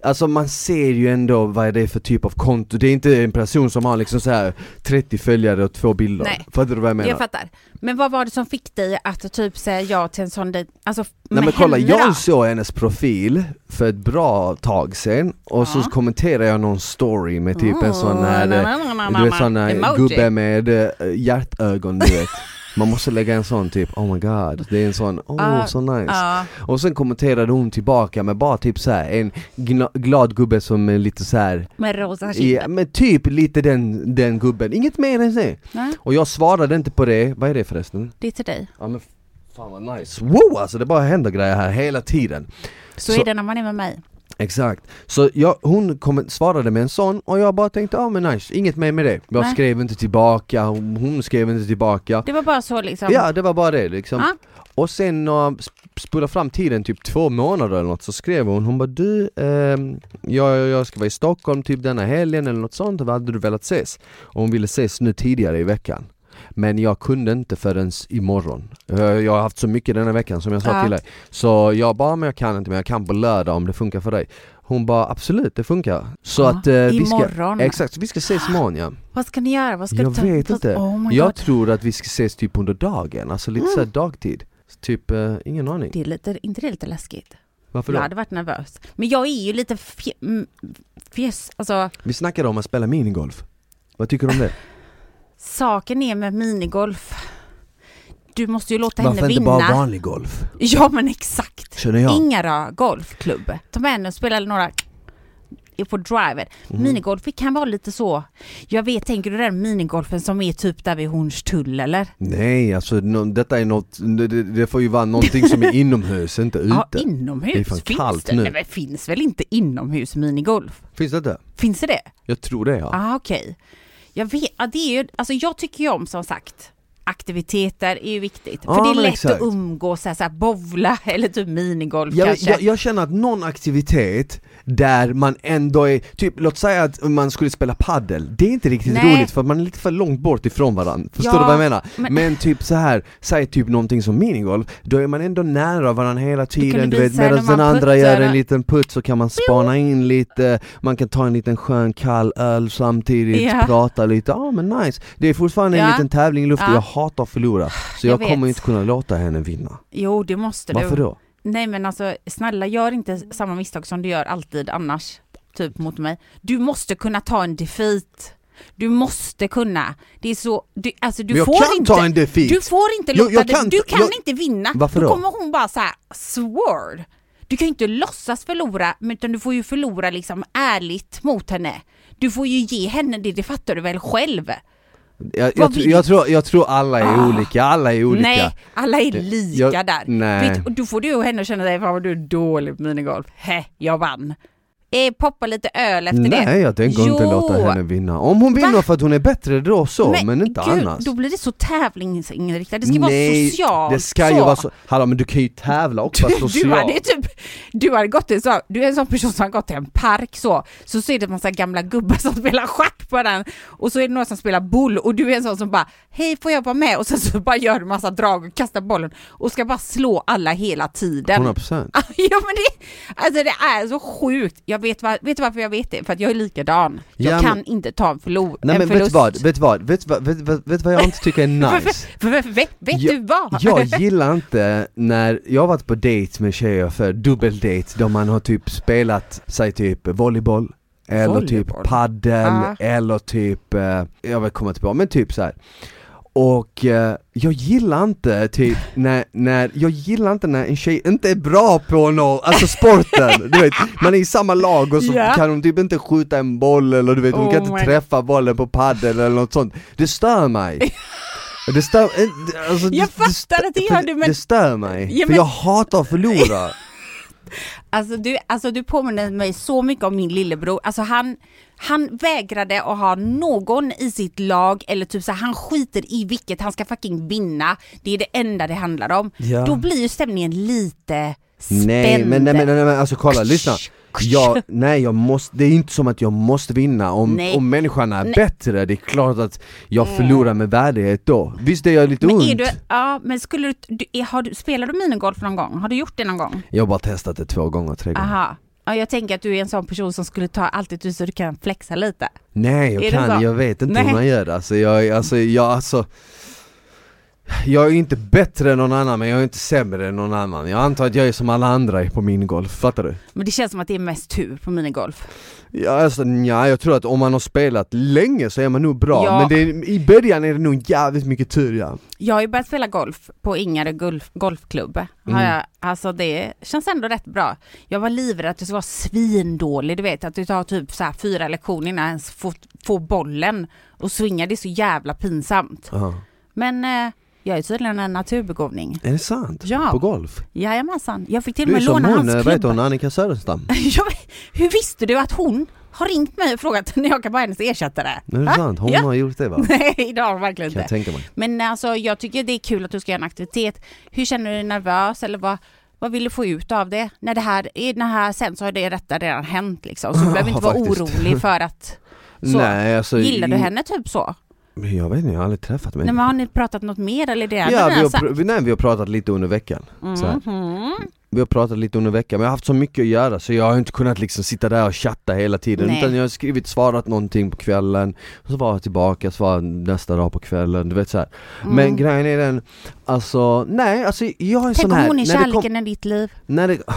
alltså man ser ju ändå vad det är för typ av konto Det är inte en person som har liksom så här 30 följare och två bilder
Nej.
Fattar du vad jag menar?
jag fattar. Men vad var det som fick dig att typ säga ja till en sån dejt? Alltså
Nej men
med
kolla,
henne då?
jag såg hennes profil för ett bra tag sedan och så
Ja.
kommenterade jag någon story med typ en sån här,
Mm,
eh,
na, na, na, na,
du
na.
vet sån här
Emoji.
gubbe med eh, hjärtögon du vet Man måste lägga en sån typ, oh my god, det är en sån, oh
Ah,
så nice
Ja.
Och sen kommenterade hon tillbaka med bara typ så här en gna- glad gubbe som är lite så här.
Med rosa
Ja,
kinder.
men typ lite den, den gubben, inget mer än det.
Nej,
Och jag svarade inte på det, vad är det förresten?
det är till dig.
Ja men fan vad nice, wow alltså det bara händer grejer här hela tiden
Så,
Så-
är det när man är med mig.
Exakt, så jag, hon kom, svarade med en sån och jag bara tänkte ja men nice, inget mer med det Jag
Nej.
skrev inte tillbaka, hon, hon skrev inte tillbaka
Det var bara så liksom.
Ja det var bara det liksom
Ja.
Och sen när jag spolar fram tiden, typ två månader eller något, så skrev hon, hon bara du, ehm, jag, jag ska vara i Stockholm typ denna helgen eller något sånt, vad hade du velat ses? Och hon ville ses nu tidigare i veckan men jag kunde inte förrän imorgon. Jag jag har haft så mycket denna veckan som jag sa
Ja.
till dig. Så jag bara, men jag kan inte, men jag kan på lördag om det funkar för dig. Hon bara, absolut det funkar. Så
Ja,
att eh, vi ska,
imorgon.
exakt, så vi ska ses imorgon ja.
Vad ska ni göra? Vad ska
Jag
du ta-
vet inte.
Oh my
Jag
God. Mm.
tror att vi ska ses typ under dagen, alltså lite såhär dagtid. Så Typ, eh, ingen aning.
Det är lite, inte det är lite läskigt?
Varför
Jag
då?
hade varit nervös. Men jag är ju lite fj- mm, fjes, alltså
Vi snackade om att spela minigolf. Vad tycker du
[laughs]
om det?
saken är med minigolf. Du måste ju låta
Varför
henne
inte
vinna.
bara vanlig golf?
Ja men exakt.
Känner jag.
Ingarö golfklubb. Ta med henne och spela några på driven.
Mhm.
Minigolf det kan vara lite så. Jag vet, tänker du den minigolfen som är typ där vid Hornstull eller?
Nej, alltså no, detta är något, det, det- det får ju vara någonting
[laughs]
som är inomhus, inte ute.
Ja, inomhus.
Det är fan
finns
kallt
det?
nu.
Nej, men finns väl inte inomhus minigolf?
Finns det inte?
Finns det det?
Jag tror det ja.
Ah, okej. Jag vet, ja, det är ju, alltså jag tycker ju om som sagt aktiviteter är ju viktigt.
Ja,
För det är
men
lätt
exakt.
att umgås, så här, så här, bowla [laughs] eller typ minigolf
Jag,
kanske.
jag, jag känner att någon aktivitet där man ändå är, typ låt säga att man skulle spela paddel det är inte riktigt
Nej.
roligt för att man är lite för långt bort ifrån varandra, förstår
Ja,
du vad jag menar? Men,
men-
typ så här, säg typ någonting som minigolf, då är man ändå nära varandra hela tiden, du
visa henne
vet, medan
man
den andra
puttar.
gör en liten putt så kan man spana in lite, man kan ta en liten skön kall öl samtidigt,
Ja.
prata lite, ja ah, men nice, det är fortfarande en
Ja.
liten tävling i luften,
Ja.
jag hatar att förlora, så jag,
Jag
jag kommer
vet.
inte kunna låta henne vinna.
Jo, det måste
Varför
du.
då?
Nej men alltså snälla gör inte samma misstag som du gör alltid annars. Typ mot mig. Du måste kunna ta en defeat. Du måste kunna. Det är så, du, alltså du
Men jag
får
kan
inte.
ta en defeat!
Du får inte
Jo,
låta
jag
det-
kan-
du kan
jag-
inte vinna.
Varför
då
då?
kommer hon bara så här sword. Du kan ju inte låtsas förlora, men utan du får ju förlora liksom ärligt mot henne. Du får ju ge henne det, det fattar du väl själv?
Jag,
Vad
jag, tror-
vill-
jag, tror, jag tror alla är
Ah.
olika, alla är olika.
Nej, alla är
Det-
lika
jag-
där.
nej.
Vet, och då får du och henne känna dig, fan vad du är dålig på minigolf. Hä, jag vann. Eh, poppa lite öl efter det.
Nej jag tänker inte
Jo.
låta henne vinna. Om hon vinner för att hon är bättre då så, men, inte
gud,
annars.
Då blir det så tävlingsinriktat, det ska
Nej,
vara socialt.
det ska
så. [laughs]
ju vara så. Hallå men du kan ju tävla och vara
Du, du
social.
hade ju typ, du hade gått till, så, du är en sån person som har gått till en park så, så ser det en massa gamla gubbar som [laughs] spelar schack på den och så är det några som spelar boll och du är en sån som bara hej får jag vara med och sen så bara gör du massa drag och kastar bollen och ska bara slå alla hela tiden.
100%.
[laughs] ja men det, alltså det är så sjukt. Jag vet, var, vet du varför jag vet det? För att jag är likadan. Jag
Ja, men-
kan inte ta en, förlor,
Nej
en
men vet du
förlust.
vad, vet du vad, vet du vad, vet, vet, vet du vad jag inte
[laughs]
tycker är nice?
För- för- för- Vet, vet
Ja,
du vad?
[laughs] Jag gillar inte när, jag har varit på dejt med tjejer för dubbeldejt då man har typ spelat, säg typ volleyboll eller
Volleyboll?
typ paddel
Ah.
eller typ, eh, jag vill komma tillbaka, men typ så här. Och eh, jag gillar
[laughs]
inte typ när, när, jag gillar inte när en tjej inte är bra på något, alltså sporten, du vet, man är i samma lag och så
Ja.
kan hon typ inte skjuta en boll eller du vet, hon
Oh
kan inte
my-
träffa bollen på paddel eller något sånt, det stör mig det stör, eh, alltså,
Jag fattar att det gör
för
du, men-
Det stör mig,
Ja,
för
men-
jag hatar
[laughs]
att förlora
[laughs] Alltså du, alltså du påminner mig så mycket om min lillebror. Alltså han, han vägrade att ha någon i sitt lag eller typ så här, han skiter i vilket, han ska fucking vinna. Det är det enda det handlar om.
Ja.
Då blir ju stämningen lite spänd.
Nej men, nej men nej men alltså kolla,
Ksch,
lyssna
ksch.
jag, nej jag måste, det är inte som att jag måste vinna om,
Nej.
om människan är
Nej. Mm.
bättre, det är klart att jag förlorar med värdighet då Visst det gör lite
Men är
ont,
du, ja men skulle du, du, är, har du, spelar du minigolf någon gång? Har du gjort det någon gång?
jag har bara testat det två gånger, tre gånger
Aha. Ja, jag tänker att du är en sån person som skulle ta allt ut så du kan flexa lite.
Nej jag
Är det
kan,
så?
jag vet inte hur
Nej.
man gör det alltså, jag, alltså, jag, alltså jag är ju inte bättre än någon annan men jag är inte sämre än någon annan Jag antar att jag är som alla andra på min golf, fattar du?
Men det känns som att det är mest tur på minigolf.
Ja, alltså, nja, jag tror att om man har spelat länge så är man nog bra,
Ja.
men det är, i början är det nog jävligt mycket tur ja.
Jag har ju börjat spela golf på Ingarö golf, golfklubb. Har
Mm.
jag, alltså det känns ändå rätt bra. Jag var livrädd att det skulle vara svindålig, du vet att du tar typ så här fyra lektioner innan jag ens får, får bollen och swinga, det är så jävla pinsamt.
Ja.
Men eh, jag är tydligen en naturbegåvning.
Är det sant?
Ja.
På golf?
Jajamensan, jag fick till och
Du är
med
som
låna
hon, eh,
hans
vad heter
klubba.
hon,
[laughs]
Annika Söderstam?
Jag vet- Hur visste du att hon har ringt mig och frågat [laughs] när jag kan vara hennes ersättare?
Är det
Va?
sant? Hon
Ja.
har gjort det va?
[laughs] Nej, idag har hon verkligen
Kan jag
inte.
tänka mig.
Men alltså, jag tycker det är kul att du ska göra en aktivitet. Hur känner du dig nervös eller vad, vad vill du få ut av det? När det här, i den här sen så har det detta redan hänt liksom. Så du
Ja,
behöver inte vara
faktiskt. [laughs]
orolig för att så.
Nej alltså,
Gillar du
i-
henne typ så?
Men Jag vet inte, jag har aldrig träffat
Nej,
människor.
men alltså- har ni pratat något mer eller är det
Ja, vi har,
sagt?
pr- nej, vi har pratat lite under veckan. Så här.
Mhm.
Vi har pratat lite under veckan, men jag har haft så mycket att göra så jag har inte kunnat liksom sitta där och chatta hela tiden
Nej.
utan jag har skrivit, svarat någonting på kvällen, så var jag tillbaka, svarade nästa dag på kvällen, du vet så här. Men grejen är den, alltså nej, alltså jag är
Mm. Tänk
sån
om
här
hon är
när, det
kärleken
kom,
i ditt liv.
när, det, [laughs]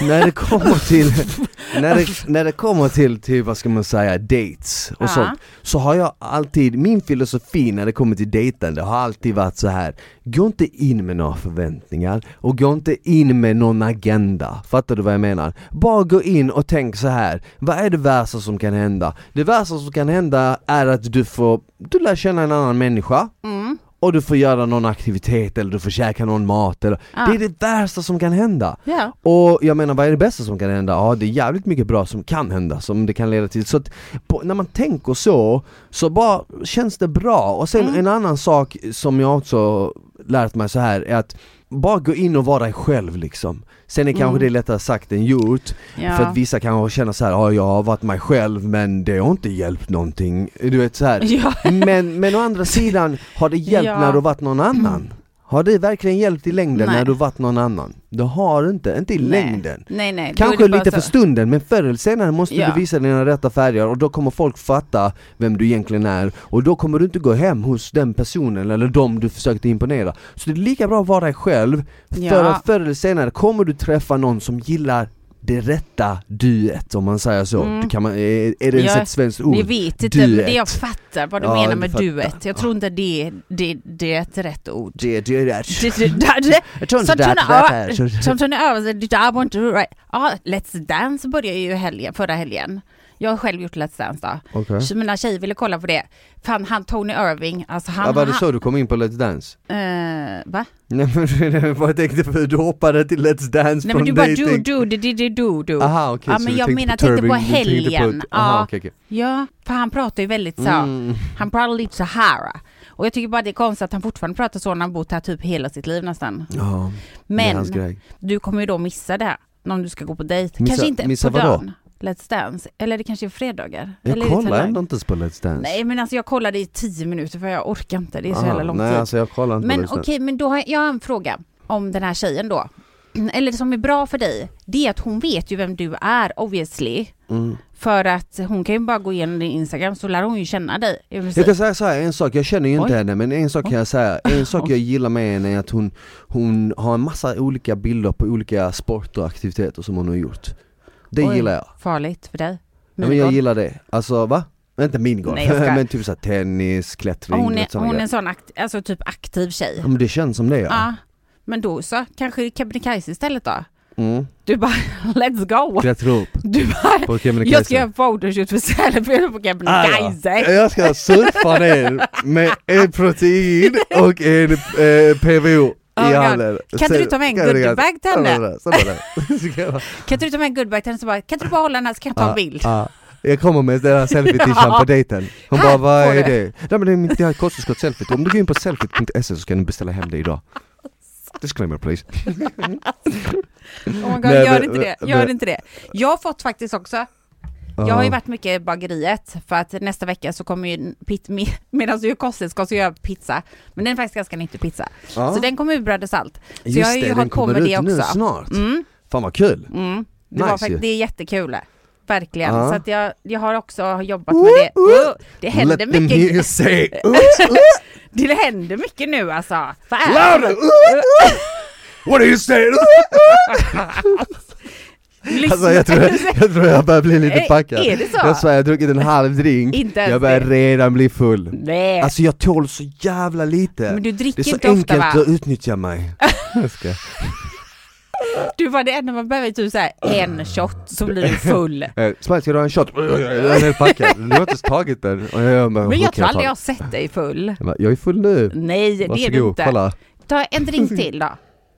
när det kommer till,
[laughs]
när det, när det kommer till, till vad ska man säga, dates och
Ja.
sånt Så har jag alltid, min filosofi när det kommer till dejtande har alltid varit så här Gå inte in med några förväntningar och gå inte in med någon agenda Fattar du vad jag menar? Bara gå in och tänk så här Vad är det värsta som kan hända? Det värsta som kan hända är att du får, du lär känna en annan människa
Mm.
och du får göra någon aktivitet eller du får käka någon mat eller
Ja.
Det är det värsta som kan hända!
Ja.
Och jag menar vad är det bästa som kan hända? Ja det är jävligt mycket bra som kan hända, som det kan leda till. Så att på, när man tänker så, så bara känns det bra. Och sen en annan sak som jag också lärt mig så här är att bara gå in och vara dig själv liksom. Sen är kanske det lättare sagt än gjort,
Ja.
för att vissa kanske känner så här, ja jag har varit mig själv men det har inte hjälpt någonting. Du vet så här.
Ja.
Men, men å andra sidan, har det hjälpt
Ja.
när du varit någon annan? Har det verkligen hjälpt i längden
Nej.
när du varit någon annan? Det har inte, inte i
Nej.
längden.
Nej, nej. då
Kanske
är det bara
lite för
så.
stunden, men förr eller senare måste
Ja.
du visa dina rätta färger och då kommer folk fatta vem du egentligen är och då kommer du inte gå hem hos den personen eller dem du försökte imponera. Så det är lika bra att vara dig själv, för
Ja.
att förr eller senare kommer du träffa någon som gillar det rätta duet om man säger så.
Mm.
Det kan man, är är det ens
Ja,
ett svenskt ord?
Ni vet inte, men det jag
Duet.
fattar vad du
Ja,
menar
du
med
fattar.
duet. Jag tror inte det, det, det är ett rätt ord.
[laughs] Det, det är rätt.
Det- det- det- det-
Jag tror inte
Som
det,
Tony
det här-
Irving- eh, Som Tony Irving sa, "Did I want to write-" Ja, Let's Dance började ju helgen, förra helgen. Jag har själv gjort Let's Dance då.
Okej.
Så mina tjejer ville kolla på det. Fan han Tony Irving, alltså han...
Ja, var det
han-
så du kom in på Let's Dance?
Eh, va?
Nej men [laughs] jag bara tänkte på hur du hoppade till Let's Dance
Nej
från
men du bara do,
dating. Ah.
do, di, di, di, do, do.
Aha okej,
Ja,
så
men
du
jag
tänkte
menar,
på
tänkte på
Turbin, du tänkte
helgen.
på- Aha,
Ja.
okej, okej.
Ja, för han pratar ju väldigt så.
Mm.
Han pratar lite så här. Och jag tycker bara det är konstigt att han fortfarande pratar så när han bott här typ hela sitt liv nästan.
Ja, det är hans
Men
grej.
du kommer ju då missa det här om du ska gå på dejt.
Missa-
kanske inte
missa
på
vadå?
dagen. Let's Dance. Eller det kanske är fredagar.
Jag
Eller är det
kollar
fredag?
ändå inte ens på Let's Dance.
Nej men alltså jag kollade i tio minuter för jag orkar inte. Det är så
Aha,
jävla lång
Nej
tid.
alltså jag kollar inte
Men
på Let's
okej,
Dance.
men då har jag, jag har en fråga om den här tjejen då. [clears throat] Eller som är bra för dig, det är att hon vet ju vem du är obviously.
Mm.
För att hon kan ju bara gå igenom din Instagram så lär hon ju känna dig. i princip.
Jag kan säga så här, en sak, jag känner ju inte
Oj.
henne men en sak kan jag säga, en sak jag gillar med henne är att hon, hon har en massa olika bilder på olika sporter och aktiviteter som hon har gjort. Det
Oj.
gillar jag.
Farligt för dig.
Ja, men jag
Minigolf.
gillar det, alltså va? Inte min golf,
Nej, jag skojar.
[laughs] men typ såhär tennis, klättring,
Och hon
du
är,
vet, såna
hon är
grejer.
en sån akt, alltså typ aktiv tjej.
Ja, men det känns som det ja.
Ja. Men då så, kanske Kebnekaise istället då?
Mm.
Du bara, [laughs] let's go!
Klättra upp
[laughs] Du bara,
på
jag ska göra
Kebnekaise. Ah,
en photoshoot för Sälenfjällen på Kebnekaise.
Jag ska surfa ner med en protein och en eh, PVO
Oh
i
my God.
hallen.
Kan inte du ta med en goodiebag till henne? [laughs]
[laughs] henne?
Kan inte du ta med en goodbye till henne så bara, kan inte du bara hålla den här så kan jag
Ah.
ta en bild?
Jag kommer med
[laughs]
den här selfie-tishan på dejten. Hon
Här
bara vad
får
är
du."
det? Nej men det är mitt det här kosttillskott-selfie. Om du går in på selfie.se E så kan du beställa hem
[laughs]
det idag. Disclaimer please.
Oh my God,
Nej,
gör
men-
inte det,
men-
gör inte det. Jag har fått faktiskt också, jag
Ah.
har ju varit mycket i bageriet för att nästa vecka så kommer ju pit, med, [laughs] medan du gör kosttillskott så gör jag pizza. Men den är faktiskt ganska nyttig pizza.
Ja.
Så den kommer ur bröd och salt. Så
Ah. Just
jag har ju
det, den
hållit på
kommer
med
ut
det
nu
också.
snart.
Mm,
Fan vad kul!
mm. Det,
Nice
var
ju.
fakt- det är jättekul. Verkligen.
Ja.
Så att jag, jag har också jobbat med det. Oh, det händer
Let the
mycket.
music say,
[laughs] Det händer mycket nu alltså. Vad är det?
louder! What do you say?
[laughs] Lyssna.
[laughs] Alltså jag tror jag, tror jag börjar bli [laughs] lite
Är-
packad.
är det Eh, så?
Jag svär, jag har druckit en halv drink,
Inte ens
jag börjar
det.
redan bli full.
Nej.
Alltså jag tål så jävla lite.
men du dricker
det är så
inte ofta
enkelt
va?
att
[laughs]
utnyttja mig. Jag ska-
Du var det enda man behöver typ såhär en shot så blir du
[laughs]
full.
Eh, Spice, ska du ha en shot? Jag är helt packad, du har inte ens tagit den. Och jag, bara,
Men jag
okej,
tror aldrig jag
fan.
har sett dig full.
jag bara, jag är full nu.
Nej det är du
Varsågod,
inte.
kolla.
Ta en
[laughs]
drink till då.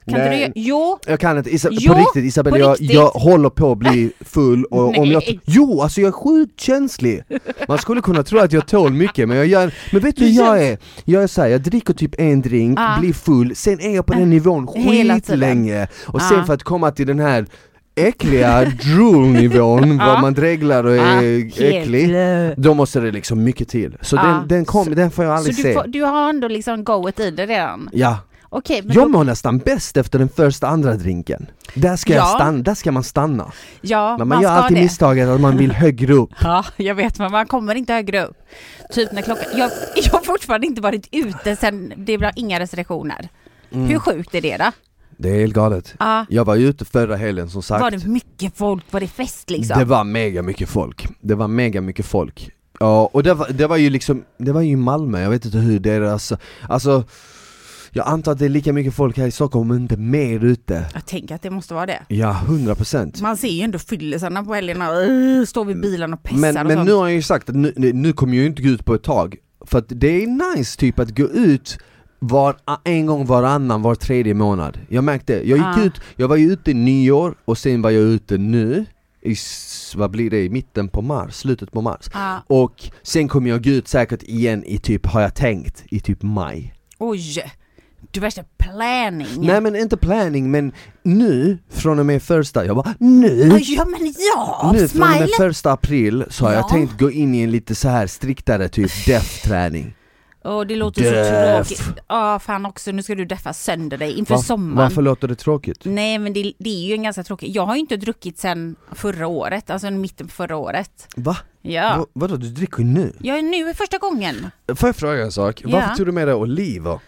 Kan inte du
Nej.
göra? Jo,
Jag kan inte, Isabel,
Jo,
på riktigt Isabel,
på
jag,
riktigt.
jag håller på
[laughs]
att bli full och om jag...
Nej.
Jo, alltså jag är sjukt känslig! Man skulle kunna tro att jag tål mycket men jag gör... Men vet du hur jag är? Jag är såhär, jag dricker typ en drink,
Ja.
blir full, sen är jag på den nivån
Ah. Hela tiden. Ah.
skitlänge och
Ja.
sen för att komma till den här
[laughs]
äckliga drool-nivån,
Ja.
var man dreglar och
Ah,
är
helt
äcklig
lö.
då måste det liksom mycket till. Så
Ja.
den, den, kom, den får jag
Så
aldrig
du,
se.
får, du har ändå liksom goet i dig redan?
Ja.
Okej, men
Jag
då,
mår nästan bäst efter den första andra drinken. Där ska, jag
Ja.
stanna, där ska man stanna.
ja,
Men
man,
man gör
ska
alltid
det.
misstaget att man vill högre upp.
Ja, jag vet men man kommer inte högre upp. Typ när klockan... Jag, jag har fortfarande inte varit ute sen det blev inga restriktioner. [laughs]
Mm.
Hur sjukt är det då?
Det är helt galet.
Ja.
Jag var ute förra helgen som sagt.
Var det mycket folk? Var det fest liksom?
Det var mega mycket folk. Det var mega mycket folk. Ja, och det var, det var ju liksom, det var ju i Malmö, jag vet inte hur deras, alltså jag antar att det är lika mycket folk här i Stockholm men inte mer ute.
Jag tänker att det måste vara det.
Ja, 100 procent.
Man ser ju ändå fyllisarna på helgerna, uh, står vid bilen och pissar
Men,
och
men
sånt.
nu har jag ju sagt att nu, nu nu kommer jag ju inte gå ut på ett tag, för att det är nice typ att gå ut var, en gång varannan, var tredje månad. Jag märkte, jag gick
Ah.
ut, jag var ju ute nyår och sen var jag ute nu i, s- vad blir det, i mitten på mars, slutet på mars.
Ja.
Och sen kommer jag gå ut säkert igen i typ, har jag tänkt, i typ maj.
Oj! Du värsta planning.
Nej men inte planning men nu, från och med första, jag bara nu!
Oj, Ja men ja!
nu från och
Smile!
med första april så har
Ja.
jag tänkt gå in i en lite så här striktare typ death träning.
Åh det låter ju
Döf.
så tråkigt. Ja fan också, nu ska du deffa sönder dig inför
Va-
sommaren.
Varför låter det tråkigt?
Nej men det, det är ju en ganska tråkig, jag har ju inte druckit sedan förra året, alltså mitten på förra året.
Va?
Ja.
Va- vadå du dricker nu?
Jag är nu är första gången.
Får jag fråga en sak?
Ja. Varför
tog du med dig oliver?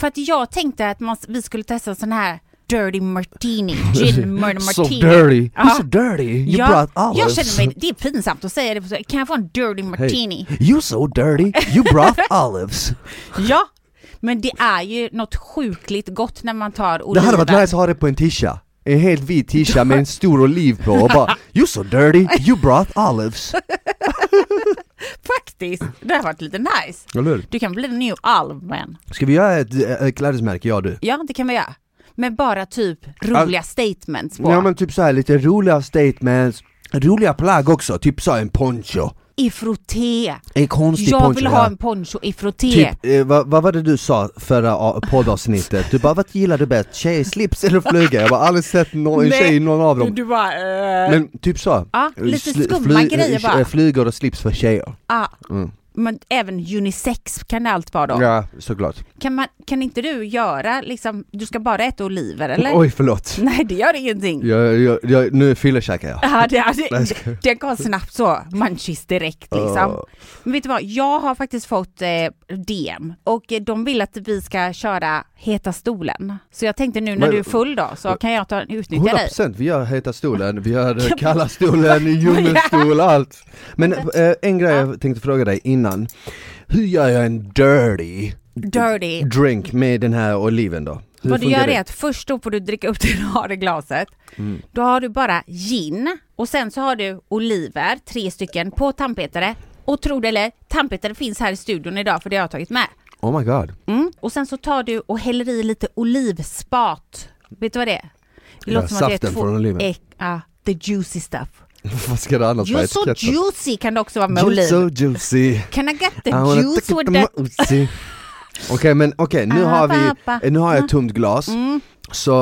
För att jag tänkte att man, vi skulle testa en sån här Dirty
[laughs]
Martini, Gin Murder
So
Martini.
dirty!
Ja.
You're so dirty! You
Ja,
brought olives!
jag känner mig, det är pinsamt att säga det, på så- kan jag få en Dirty Martini?
You're so dirty! You
[laughs]
brought olives!
Ja! Men det är ju något sjukligt gott när man tar
Det
oliver.
hade varit nice att ha det på en tisha En helt vit tisha med en stor oliv på och bara You're so dirty! You brought olives!
Faktiskt, det hade varit lite nice.
Eller hur?
Du kan bli en new Alvman.
Ska vi göra ett, äh, ett klädesmärke jag och du?
Ja, det kan vi göra. Men bara typ roliga statements på.
Ja men typ så här lite roliga statements Roliga plagg också, typ så här en poncho
I frotté.
En konstig
Jag
poncho
vill
ja.
ha en poncho i frotté.
Typ, eh, vad, vad var det du sa förra a- poddavsnittet? Du bara, vad gillar du bäst? Tjej, slips eller fluga? Jag har aldrig sett någon, en
Nej.
tjej i någon av dem
Du bara... eh,
Men typ så
Ja, lite
Sli-
skumma grejer
eh,
bara.
eh, Flugor och slips för tjejer
ah,
mm.
men även unisex kan det allt vara då.
Ja, såklart
Kan, man, kan inte du göra liksom, du ska bara äta oliver eller?
Oj, förlåt
Nej det gör ingenting.
jag, jag, jag, Nu fyllekäkar jag
Ja, det, ja,
Nej, jag
det, den kom snabbt så, munchies direkt liksom.
Åh.
Men vet du vad, jag har faktiskt fått eh, DM och eh, de vill att vi ska köra Heta stolen. Så jag tänkte nu när
Men-
du är full då så kan jag ta, utnyttja dig.
100% vi gör heta stolen,
[laughs]
vi gör eh, kalla stolen, djungelstol, allt Men eh, en grej jag tänkte fråga dig innan Hur gör jag en dirty
Dirty.
drink med den här oliven då? Hur
Vad du
funkar
gör
det?
är att först då får du dricka upp [laughs] det du har i glaset.
Mm.
Då har du bara gin och sen så har du oliver, tre stycken, på tandpetare. Och tro det eller, tandpetare finns här i studion idag för det har jag tagit med.
Oh my god [laughs]
Mm. Och sen så tar du och häller i lite olivspat. Vet du vad det är? Det
Ja,
det
saften från oliven. Alltså,
äck- ja, the juicy stuff.
Vad ska det annars vara?
You're so
Etiketten?
juicy kan det också vara med
You're
oliv.
so
[laughs]
juicy
Can I get the
I wanna
juice
take it
with that?
to my Uzi. Okej men okej, nu
Ah,
har
pappa. Mm.
vi, eh, nu har jag ett tomt glas Så,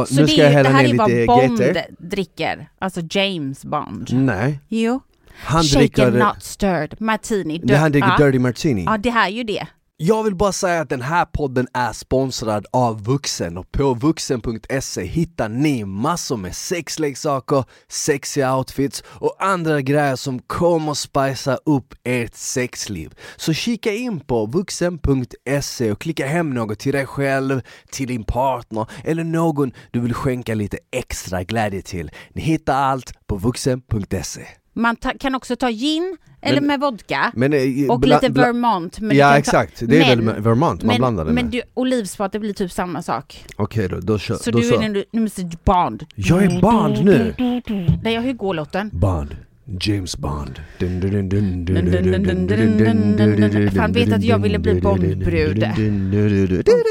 Så
nu
det,
ska jag
är- det
hälla
här
ner
är
lite
vad Bond
GT
dricker, alltså James Bond.
Nej,
Jo.
han
Shaken
dricker,
not stirred, martini.
nej, han dricker
ja.
Dirty Martini
ja, det här är ju det.
Jag vill bara säga att den här podden är sponsrad av Vuxen och på vuxen.se hittar ni massor med sexleksaker, sexiga outfits och andra grejer som kommer spicea upp ert sexliv. Så kika in på vuxen.se E och klicka hem något till dig själv, till din partner eller någon du vill skänka lite extra glädje till. Ni hittar allt på vuxen.se.
Man ta, kan också ta gin eller
Men-
med vodka.
Men, eh,
Och lite Vermont. Men du kan
Ja
ta-
exakt, det är
men-
väl Vermont man
men,
blandar det med.
Men du, olivspat det blir typ samma sak.
Okej då, då kör,
Så
då
du är Mm, nu, nu Mr Bond.
Jag är Bond nu!
Nej, jag hur går låten?
Bond. James Bond. Dun, dun, dun, dun, dun,
Dun,
dun,
dun, dun,
dun, dun,
dun, dun, dun, dun, dun.
dun,
Fan, vet att jag ville bli Bondbrud.
dun, dun, dun, dun.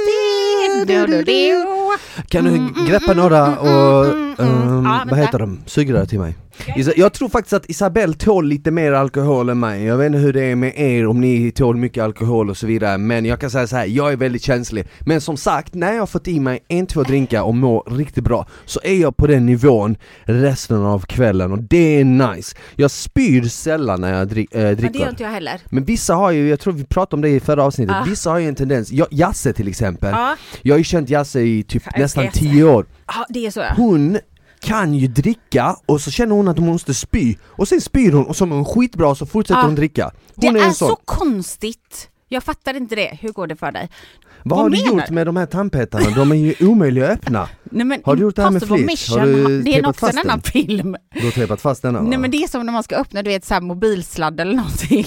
Kan
Mm,
du greppa några och, ehm,
Ja, vänta.
vad heter de, sugrör till mig? Isa- Jag tror faktiskt att Isabelle tål lite mer alkohol än mig, jag vet inte hur det är med er om ni tål mycket alkohol och så vidare men jag kan säga så här, jag är väldigt känslig Men som sagt, när jag har fått i mig en, två drinkar och mår riktigt bra så är jag på den nivån resten av kvällen och det är nice Jag spyr sällan när jag drick, äh,
Men det gör
dricker
inte jag heller.
men vissa har ju, jag tror vi pratade om det i förra avsnittet,
Ah.
vissa har ju en tendens, jag, Jasse till exempel,
Ja,
jag har ju känt Jasse i typ
Jag älskar
nästan
Jasse.
10 år
ja, det är så ja.
hon kan ju dricka och så känner hon att hon måste spy och sen spyr hon och så mår hon skitbra och så fortsätter
Ah.
hon dricka.
Det
Hon är
är
en sån.
så konstigt. Jag fattar inte det. Hur går det för dig?
Vad
vad
har du
menar
gjort med de här tandpetarna? De är ju omöjliga att öppna.
Nej, men
Har du gjort det här med
Impossible
flit?
Mission,
Har du
det är
tejpat
också en
fast den?
annan film.
Du har tejpat fast denna
Nej men det är som när man ska öppna du vet så här mobilsladd eller någonting.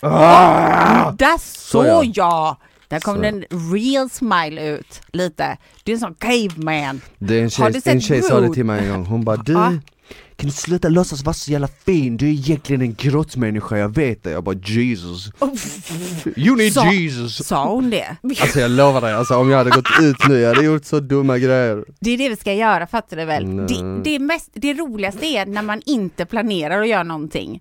ah!
Där
ja.
såg jag! Där kom
Så.
det en real smile ut lite. Du är en sån caveman.
det är en
Har
tjej,
du sett Ah.
en tjej sa det
Rude?
till mig en gång, hon bara du,
Ja.
Kan du sluta låtsas vara så jävla fin? Du är egentligen en grottmänniska, jag vet det. Jag bara Jesus. You need
Sa-
Jesus.
Sa hon det?
Alltså jag lovar dig, alltså om jag hade gått ut nu, jag hade gjort så dumma grejer.
Det är det vi ska göra, fattar du väl?
Nej.
Det, det, mest, det roligaste är när man inte planerar att göra någonting.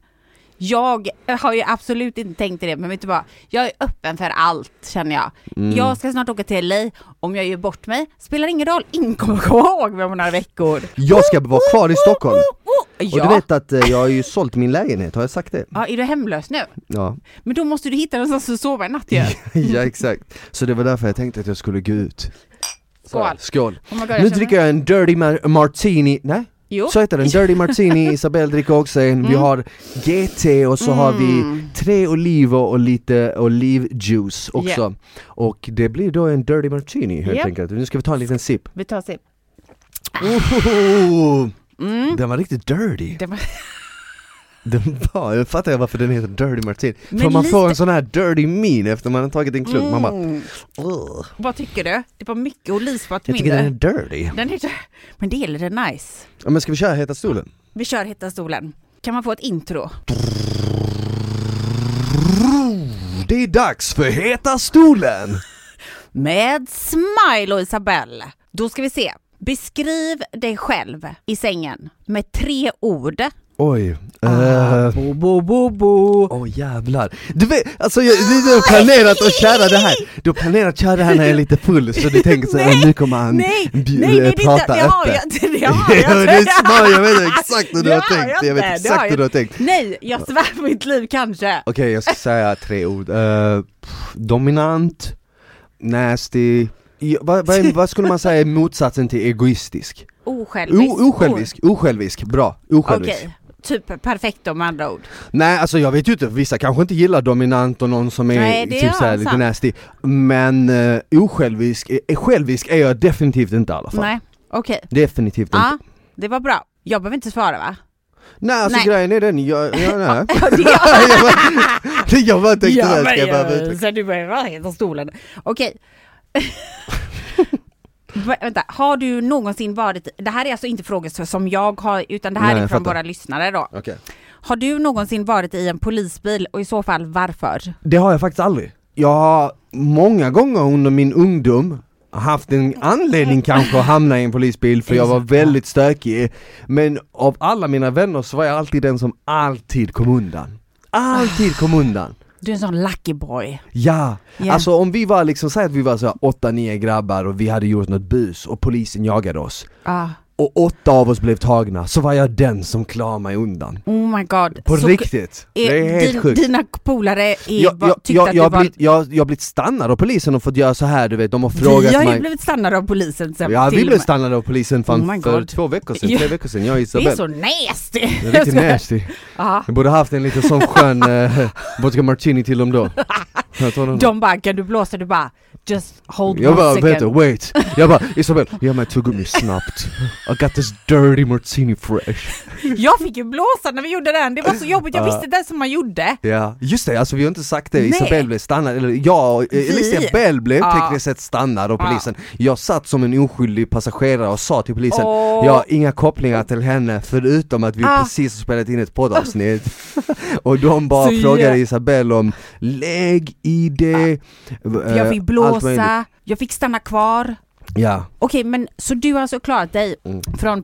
Jag har ju absolut inte tänkt i det, men vet du vad? Jag är öppen för allt, känner jag.
Mm.
Jag ska snart åka till LA. Om jag gör bort mig, spelar ingen roll. Ingen kommer komma ihåg mig om några veckor.
Jag ska vara kvar i Stockholm. Och
Ja.
du vet att eh, jag har ju sålt min lägenhet, har jag sagt det?
ja, är du hemlös nu?
Ja,
Men då måste du hitta någonstans att sova i natt ju.
[laughs] ja exakt. Så det var därför jag tänkte att jag skulle gå ut. Så här,
Skål.
Skål.
Oh my God, jag
Nu
känner-
dricker jag en dirty mar- martini, nej?
Jo. Mm.
Så heter den,
[laughs]
Dirty Martini, Isabelle dricker också en, vi har GT och så har vi tre oliver och lite olivjuice också.
Yeah.
Och det blir då en Dirty Martini helt
Yep.
enkelt. Nu ska vi ta en liten sipp.
Vi tar sipp.
Oh,
Mm.
Den var riktigt dirty.
Det var...
Den var, jag fattar varför den heter Dirty Martini. För
Men
man får
lite- Mm.
en sån här dirty min efter man har tagit en klunk, man bara "Ugh."
Vad tycker du? Det var mycket olivsvart
Jag tycker
mindre.
den är dirty.
Den är... Men det är lite nice.
Ja, men ska vi köra Heta stolen?
Vi kör Hitta stolen. Kan man få ett intro?
Det är dags för Heta stolen!
Med Smile och Isabelle. Då ska vi se. Beskriv dig själv i sängen med tre ord.
Oj. eh,
Ah, bo, bo, bo, bo.
Åh jävlar. Du vet, alltså jag, du, du har planerat att köra det här, du har planerat att köra det här när jag är lite full så du tänker såhär,
Nej,
nu kommer han
Nej, nej,
bju-
nej, det, är inte-
prata
det har jag
öppet.
inte. Det
[laughs]
har jag
Jo,
inte.
det är smart,
[laughs]
jag vet exakt hur du
Det
har
har jag
tänkt, jag vet
inte, det har
exakt hur
jag
du har tänkt.
Nej, jag svär på mitt liv kanske.
Okej, jag ska säga tre ord. Eh, pff, dominant, nasty, Ja, vad,
[laughs]
vad, vad skulle man säga är motsatsen till egoistisk?
Osjälvisk.
O, osjälvisk, osjälvisk, bra, osjälvisk.
Okej, typ perfekt om andra ord.
Nej alltså jag vet ju inte, vissa kanske inte gillar dominant och någon som är
Nej, det är
typ såhär lite
sant.
nasty Men eh, osjälvisk, eh, självisk är jag definitivt inte i alla fall
Nej, okej.
Definitivt
Ja,
inte
det var bra. Jag behöver inte svara va?
Nej alltså
Nej.
grejen är den, jag, jag, nej.
[laughs] Ja, det
[laughs]
gör-
jag, bara, [laughs] jag bara tänkte det här ska
men
jag behöva
jag-
utveckla
Så du börjar röra hela stolen. Okej. [laughs] Va- Vänta, har du någonsin varit, det här är alltså inte frågor så- som jag har, utan det här
Nej,
är
jag
från
fattar.
våra lyssnare då.
Okej.
Har du någonsin varit i en polisbil och i så fall varför?
Det har jag faktiskt aldrig Jag har många gånger under min ungdom haft en anledning kanske att hamna i en polisbil för jag var väldigt stökig Men av alla mina vänner så var jag alltid den som alltid kom undan Alltid kom undan
Du är en sån lucky boy.
Ja,
Ja.
alltså om vi var liksom, säg att vi var så här åtta, nio grabbar och vi hade gjort något bus och polisen jagade oss
Ah.
och åtta av oss blev tagna, så var jag den som klarade mig undan.
Oh my god.
På
Så-
riktigt,
eh,
det är helt
din,
sjukt.
Dina polare är,
Jag,
var-
jag,
tyckte
jag,
att
jag,
du
har
var...
blivit, jag, jag har blivit stannad av polisen och fått göra så här du vet, de har
vi
frågat
har
mig
ju blivit stannade av polisen sen
Ja vi
till och
blev
med.
stannade av polisen fan
Oh my
för
God.
två veckor sedan,
Ja.
tre veckor sedan, jag och
Det är
Isabelle
så nasty!
Det
[laughs]
är riktigt nasty,
Ja.
jag borde haft en liten sån
[laughs]
skön eh, vodka martini till dem då Jag tar den.
De bara, kan du blåsa? Du bara, just hold
Jag
one
bara,
second.
vänta, wait! Jag bara, Isabel, ge mig tuggummi snabbt I got this dirty martini fresh
Jag fick ju blåsa när vi gjorde den, det var så jobbigt, jag
Ja.
visste inte ens hur man gjorde.
Ja, just det, alltså vi har inte sagt det,
Nej.
Isabel blev stannad, eller jag, och-
Vi.
eller Isabel blev
Ja.
tekniskt sett stannad av
Ja.
polisen Jag satt som en oskyldig passagerare och sa till polisen
Åh.
Jag har inga kopplingar till henne förutom att vi
Ah.
precis har spelat in
[laughs]
ett poddavsnitt Och de bara
Så jä-
frågade Isabel om lägg i det
Ah.
eh,
Jag fick
allt möjligt.
blåsa, jag fick stanna kvar.
Ja,
Okej, men så du har alltså klarat dig
Mm.
från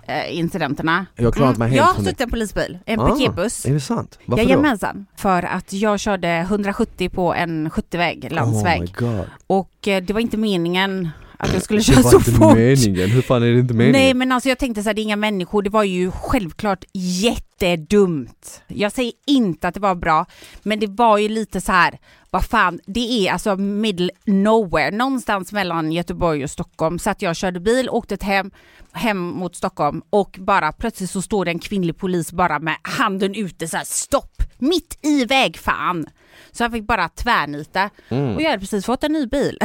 polisbilsincidenterna?
jag har klarat mig
jag
helt
har
från det
suttit i en polisbil, en
Ah,
piketbuss.
Är det sant? Varför då?
Jajamensan, för att jag körde 170 på en 70-väg, landsväg.
Oh my god.
och eh, det var inte meningen att jag skulle
Det
köra
var
så
inte
fort.
meningen, hur fan är det inte meningen?
Nej men alltså jag tänkte så här, det är inga människor, det var ju självklart jättedumt. Jag säger inte att det var bra, men det var ju lite så här, vad fan, det är alltså middle nowhere, någonstans mellan Göteborg och Stockholm. Så att jag körde bil, åkte ett hem, hem mot Stockholm och bara plötsligt så står det en kvinnlig polis bara med handen ute så här, stopp, mitt i väg fan. Så jag fick bara tvärnita
Mm.
och jag hade precis fått en ny bil.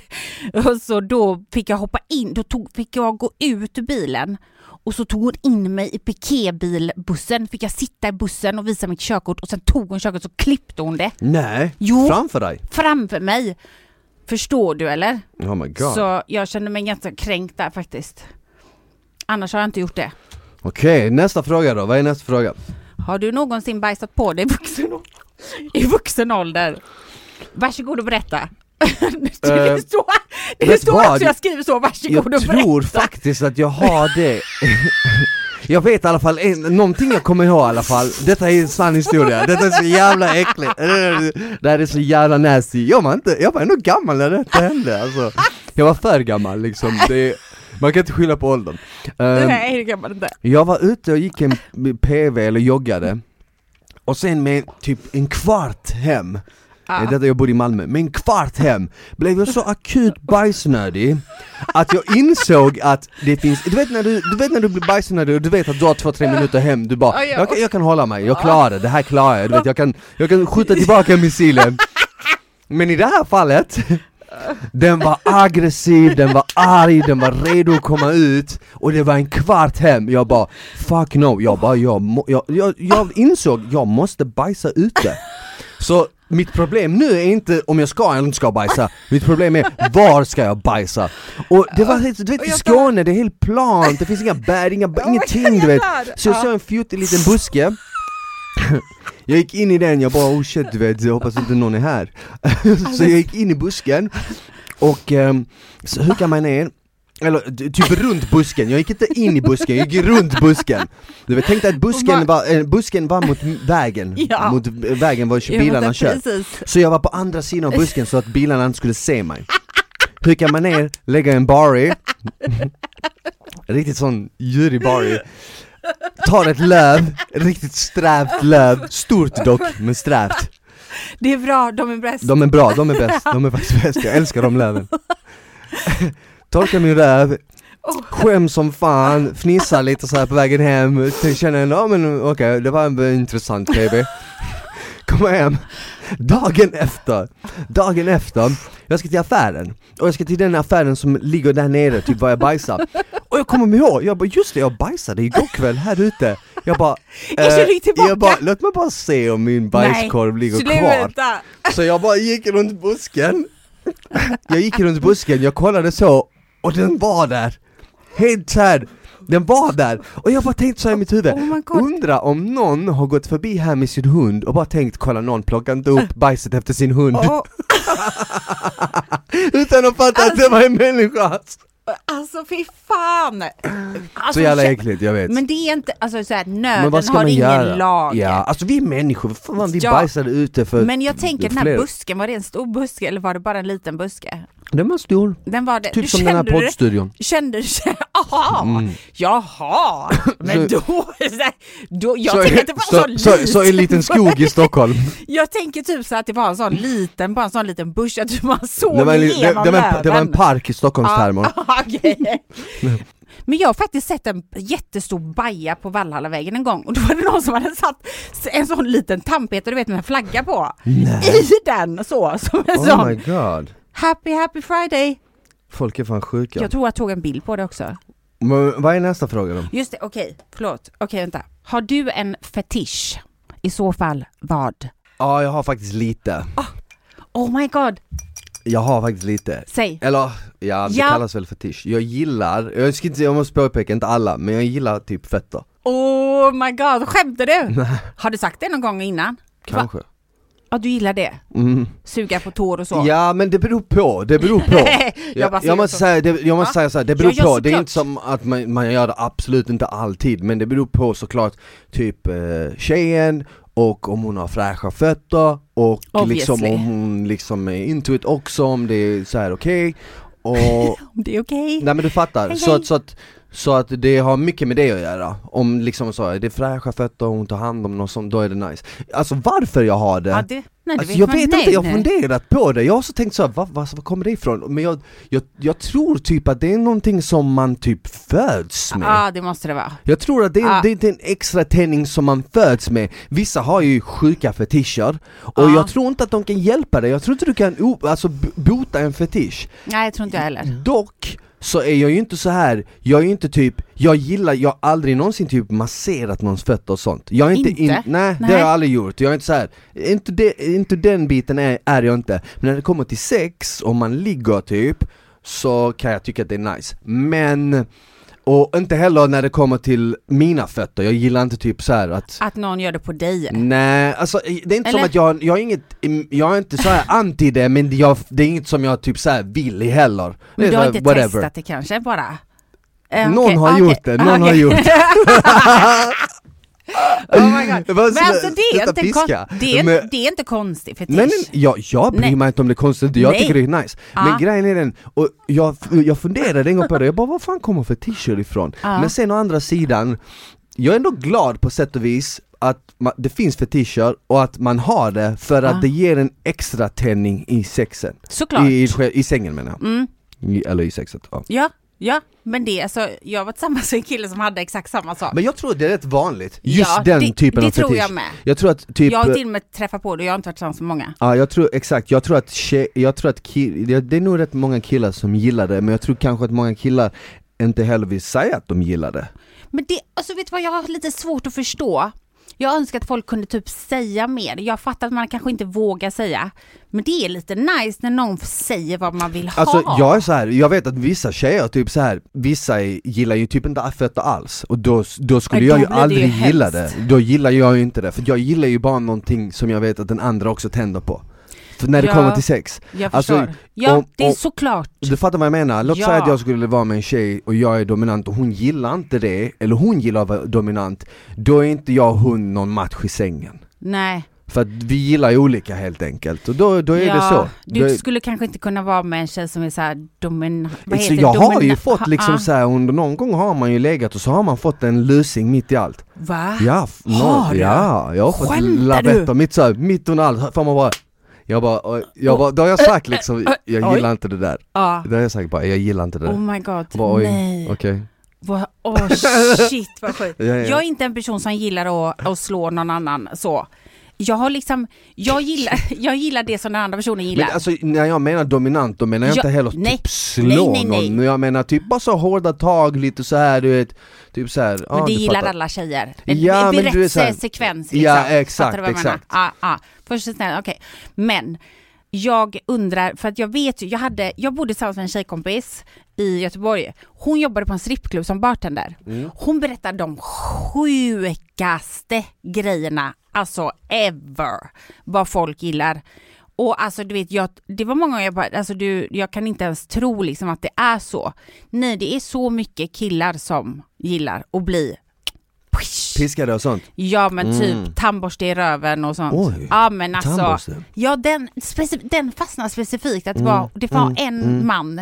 [laughs] och så då fick jag hoppa in, då tog, fick jag gå ut ur bilen och så tog hon in mig i piketbilbussen, fick jag sitta i bussen och visa mitt körkort och sen tog hon körkortet och så klippte hon det
Nej,
Jo.
framför dig!
framför mig. Förstår du eller?
Oh my god.
Så jag kände mig ganska kränkt där faktiskt. Annars har jag inte gjort det.
Okej, nästa fråga då. Vad är nästa fråga?
Har du någonsin bajsat på dig i vuxen, i vuxen ålder? Varsågod och berätta. [laughs] det
Eh,
står, det
vet
står
vad?
också, jag skriver så,
Jag
varsågod och berätta.
tror faktiskt att jag har det. [laughs] Jag vet i alla fall en, någonting jag kommer ihåg i alla fall. Detta är en sann historia, detta är så jävla äckligt. Det här är så jävla nasty. Jag var, inte, jag var ändå gammal när detta hände alltså. Jag var för gammal liksom. Det, man kan inte skylla på åldern. Ehm,
Nej, det kan man inte.
jag var ute och gick en PV eller joggade och sen med typ en kvart hem, eh,
Ja.
detta jag bodde i Malmö, med en kvart hem blev jag så akut bajsnödig att jag insåg att det finns, du vet när du, du, vet när du blir bajsnödig och du vet att du har två, tre minuter hem, du bara
Ja, ja.
jag, kan- jag kan hålla mig, jag klarar det, det här klarar jag, du vet jag kan, jag kan skjuta tillbaka missilen Men i det här fallet den var aggressiv, den var arg, den var redo att komma ut och det var en kvart hem, jag bara fuck no, jag bara jag, må, jag, jag, jag insåg jag måste bajsa ute Så mitt problem nu är inte om jag ska eller inte ska bajsa, mitt problem är var ska jag bajsa? Och det var helt, du vet i
jag tar-
Skåne det är helt plant, det finns inga bär, inga,
Oh my
ingenting du vet
God.
Så jag
Ja.
såg en fjotig liten buske jag gick in i den, jag bara oh shit du vet, jag hoppas inte någon är här [laughs] Så jag gick in i busken och um, så hukade mig ner eller d- typ runt busken, jag gick inte in i busken, jag gick runt busken Du vet, tänk dig att busken
Och
var, eh, busken var mot m- vägen,
[laughs] Ja.
mot eh, vägen var
Jag
bilarna
vet
kör
Precis.
Så jag var på andra sidan av busken så att bilarna inte skulle se mig Hukade mig ner, lägga en bari Riktigt sån djurig bari Tar ett löv, riktigt strävt löv, stort dock men strävt
Det är bra, de är bäst.
de är bra, de är
[laughs]
bäst, de är faktiskt bäst, jag älskar de löven Torkar min röv,
Oh.
skäms som fan, fnissar lite så här på vägen hem, Sen känner jag, ja men okej, det var en intressant TV [laughs] Kommer hem, dagen efter, dagen efter, jag ska till affären och jag ska till den affären som ligger där nere, typ var jag bajsade Och jag kommer ihåg, jag bara just det, jag bajsade igår kväll här ute Jag bara,
Jag kör inte tillbaka.
eh, jag bara, låt mig bara se om min bajskorv ligger kvar
Sluta.
så jag bara gick runt busken Jag gick runt busken, jag kollade så och den var där! Helt såhär, den var där! Och jag bara tänkte så här i mitt huvud,
Oh my God.
undra om någon har gått förbi här med sin hund och bara tänkt kolla någon plockar inte upp bajset efter sin hund
Åh,
[laughs] utan att fatta att det var en människa!
alltså fy fan. Alltså,
Så jävla
kä-
äckligt, jag vet.
Men det är inte, alltså såhär, nöden
Men vad ska
har
man
ingen
göra?
lag.
Ja, alltså vi är människor, för fan vi
Ja.
bajsade ute för
Men jag tänker den här
flera-
busken, var det en stor buske eller var det bara en liten buske?
Den var stor,
Den var det.
typ som den här
kände du det?
poddstudion
Kände du [laughs] Aha, jaha, men
Så-
då, [laughs] då jag
så,
tänker att det var
så,
en sån
så, så en liten skog i
[laughs]
Stockholm
Jag tänker typ så att det var en sån liten, bara en sån liten bush, att man såg
Det var, en, li- det,
igenom
det, var en, det var en
löven.
park i Stockholmstermer.
[laughs] Ja, okej. Men jag har faktiskt sett en jättestor baja på Vallhallavägen en gång och då var det någon som hade satt en sån liten tandpetare, du vet med en flagga på,
Nej.
i den så, som en
Oh my
sån
god.
Happy happy friday!
Folk är fan sjuka.
Jag tror jag tog en bild på det också.
Men vad är nästa fråga då?
Just det, okej, förlåt. Okej, vänta. Har du en fetisch? I så fall vad?
Ja, jag har faktiskt lite.
Ah. Oh my god,
Jag har faktiskt lite.
säg!
Eller, ja det
Ja.
kallas väl fetisch. Jag gillar, jag ska inte, jag måste påpeka, inte alla, men jag gillar typ fötter.
Oh my god, skämtar du? Har du sagt det någon gång innan? Va?
Kanske.
Ja, du gillar det?
Mm.
Suga på tår och så?
Ja men det beror på, det beror
[laughs]
på.
Jag
jag,
bara
jag,
säger
måste
så.
säga, det, jag måste
Ja.
säga så här, det beror
Ja, ja,
på, det är
såklart.
inte som att man, man gör det absolut inte alltid, men det beror på såklart typ eh, tjejen och om hon har fräscha fötter och liksom
Obviously.
om hon liksom är intuit också om det är så här okej
[laughs]
och
Om det är okej?
Nej men du fattar,
Hej,
så
hej.
att, så, att, så att det har mycket med det att göra. Om liksom så, är det fräscha fötter och hon tar hand om någon som, då är det nice. Alltså varför jag har det,
Ja, det, nej, det
Alltså,
vet
jag
man.
vet
nej,
inte, jag har
nej.
funderat på det, jag har också tänkt såhär, vad va, vad kommer det ifrån? Men jag, jag, jag tror typ att det är någonting som man typ föds med
Ja, det måste det vara.
Jag tror att det är,
Ah.
det är inte en extra tändning som man föds med Vissa har ju sjuka fetischer, och
Ah.
jag tror inte att de kan hjälpa dig, jag tror inte du kan o- alltså, b- bota en fetisch
Nej, jag tror inte jag heller.
Mm. Dock så är jag ju inte så här. jag är ju inte typ, jag gillar, jag har aldrig någonsin typ masserat någons fötter och sånt Jag är inte,
Inte?
nej, det
Nej.
har jag aldrig gjort, jag är inte så här. inte, det, inte den biten är, är jag inte Men när det kommer till sex, om man ligger typ, så kan jag tycka att det är nice Men Och inte heller när det kommer till mina fötter, jag gillar inte typ så här att
Att någon gör det på dig.
Nej, alltså det är inte som
Ah. Eller?
att jag, jag är inget, jag är inte
[laughs]
så här anti det men jag, det är inget som jag typ så här vill i heller
Men
Det är
du
så
har
här,
inte testat det kanske bara? Eh,
Någon
okej,
har
ah,
gjort
okej,
det,
ah,
någon har
okej.
gjort
[laughs] oh my god.
[laughs] Det var
Men
sådär,
alltså det är,
sluta
inte kon-
fiska.
det, är,
Men-
det är inte konstigt fetisch.
Nej, nej, jag, jag bryr
Nej.
mig inte om det är konstigt, jag
Nej. Ah.
tycker det är nice
Ja.
Men grejen är den, och jag, jag funderade en gång på det, jag bara var fan kommer fetischer ifrån?
Ja.
Men sen å andra sidan, jag är ändå glad på sätt och vis att ma- det finns fetischer och att man har det för att
Ja.
det ger en extra tänning i sexen
Såklart.
I, i, i sängen menar jag,
Mm.
I, eller i sexet ja.
Ja, ja, men det alltså, jag var tillsammans med en kille som hade exakt samma sak.
Men jag tror det är rätt vanligt, just
ja,
den
det,
typen
det
av fetisch
tror jag med.
Jag tror att typ
Jag har till och med träffat på det och jag har inte varit tillsammans med många.
Ja jag tror, exakt, jag tror att, tje, jag tror att ki- det, det är nog rätt många killar som gillar det, men jag tror kanske att många killar inte heller vill säga att de gillar det
Men det, alltså vet du vad jag har lite svårt att förstå? Jag önskar att folk kunde typ säga mer. Jag fattar att man kanske inte vågar säga. Men det är lite nice när någon säger vad man vill ha.
Alltså jag är så här, jag vet att vissa tjejer typ så här, vissa är- gillar ju typ inte fötter alls och då, då skulle
Nej,
jag
då
ju
blir det ju
aldrig gilla det,
hemskt.
då gillar jag ju inte det, för jag gillar ju bara någonting som jag vet att den andra också tänder på för när det
Ja.
kommer till sex,
jag
alltså,
förstår. ja,
om-
det är
om-
såklart.
Du fattar vad jag menar? Låt
Ja.
säga att jag skulle vara med en tjej och jag är dominant och hon gillar inte det, eller hon gillar att vara dominant Då är inte jag och hon någon match i sängen
Nej.
För att vi gillar ju olika helt enkelt, och då, då är
ja,
det så
Du
Då är-
skulle kanske inte kunna vara med en tjej som är så här domin... Vad
så
heter
jag har ju
domina-
fått liksom
Ah,
så här, under någon gång har man ju legat och så har man fått en lusing mitt i allt
Va?
Ja, f- nå-
Har du?
ja, jag har fått
Skämtar
lavetter
du?
mitt så här, mitt under allt, får man bara Jag bara, och- jag bara, då har jag sagt liksom, jag
oj.
gillar inte det där
Ja.
Då har jag sagt bara, jag gillar inte det där
Oh my god,
Bara, oj,
nej.
Okej
Vad- Åh shit vad sjukt.
Ja, ja.
Jag är inte en person som gillar att, att slå någon annan så. Jag har liksom, jag gillar, [laughs] jag gillar det som den andra personen gillar.
Men alltså när jag menar dominant, då menar jag
Ja,
inte heller
nej.
typ slå
Nej, nej, nej.
någon, jag menar typ bara så hårda tag, lite så här du vet, typ så här,
men
ja,
det
du
gillar
fattar.
alla tjejer.
Ja,
vid
men
rätt
du är så här-
sekvens. Liksom.
Ja,
Fattar
exakt,
du vad jag menar?
exakt.
Ja, ja. Först och snäll, okej. Men jag undrar, för att jag vet ju, jag, hade, jag bodde tillsammans med en tjejkompis i Göteborg. Hon jobbade på en strippklubb som bartender.
Mm.
Hon berättade de sjukaste grejerna, alltså ever, vad folk gillar. Och alltså du vet, jag, det var många gånger jag bara, alltså du, jag kan inte ens tro liksom att det är så. Nej, det är så mycket killar som gillar att bli
Piskade och sånt?
Ja men typ
Mm.
tandborste i röven och sånt.
Oj,
ja men alltså,
Tandborste? Mm.
ja, den, specif- den fastnade specifikt att det var, det var en man.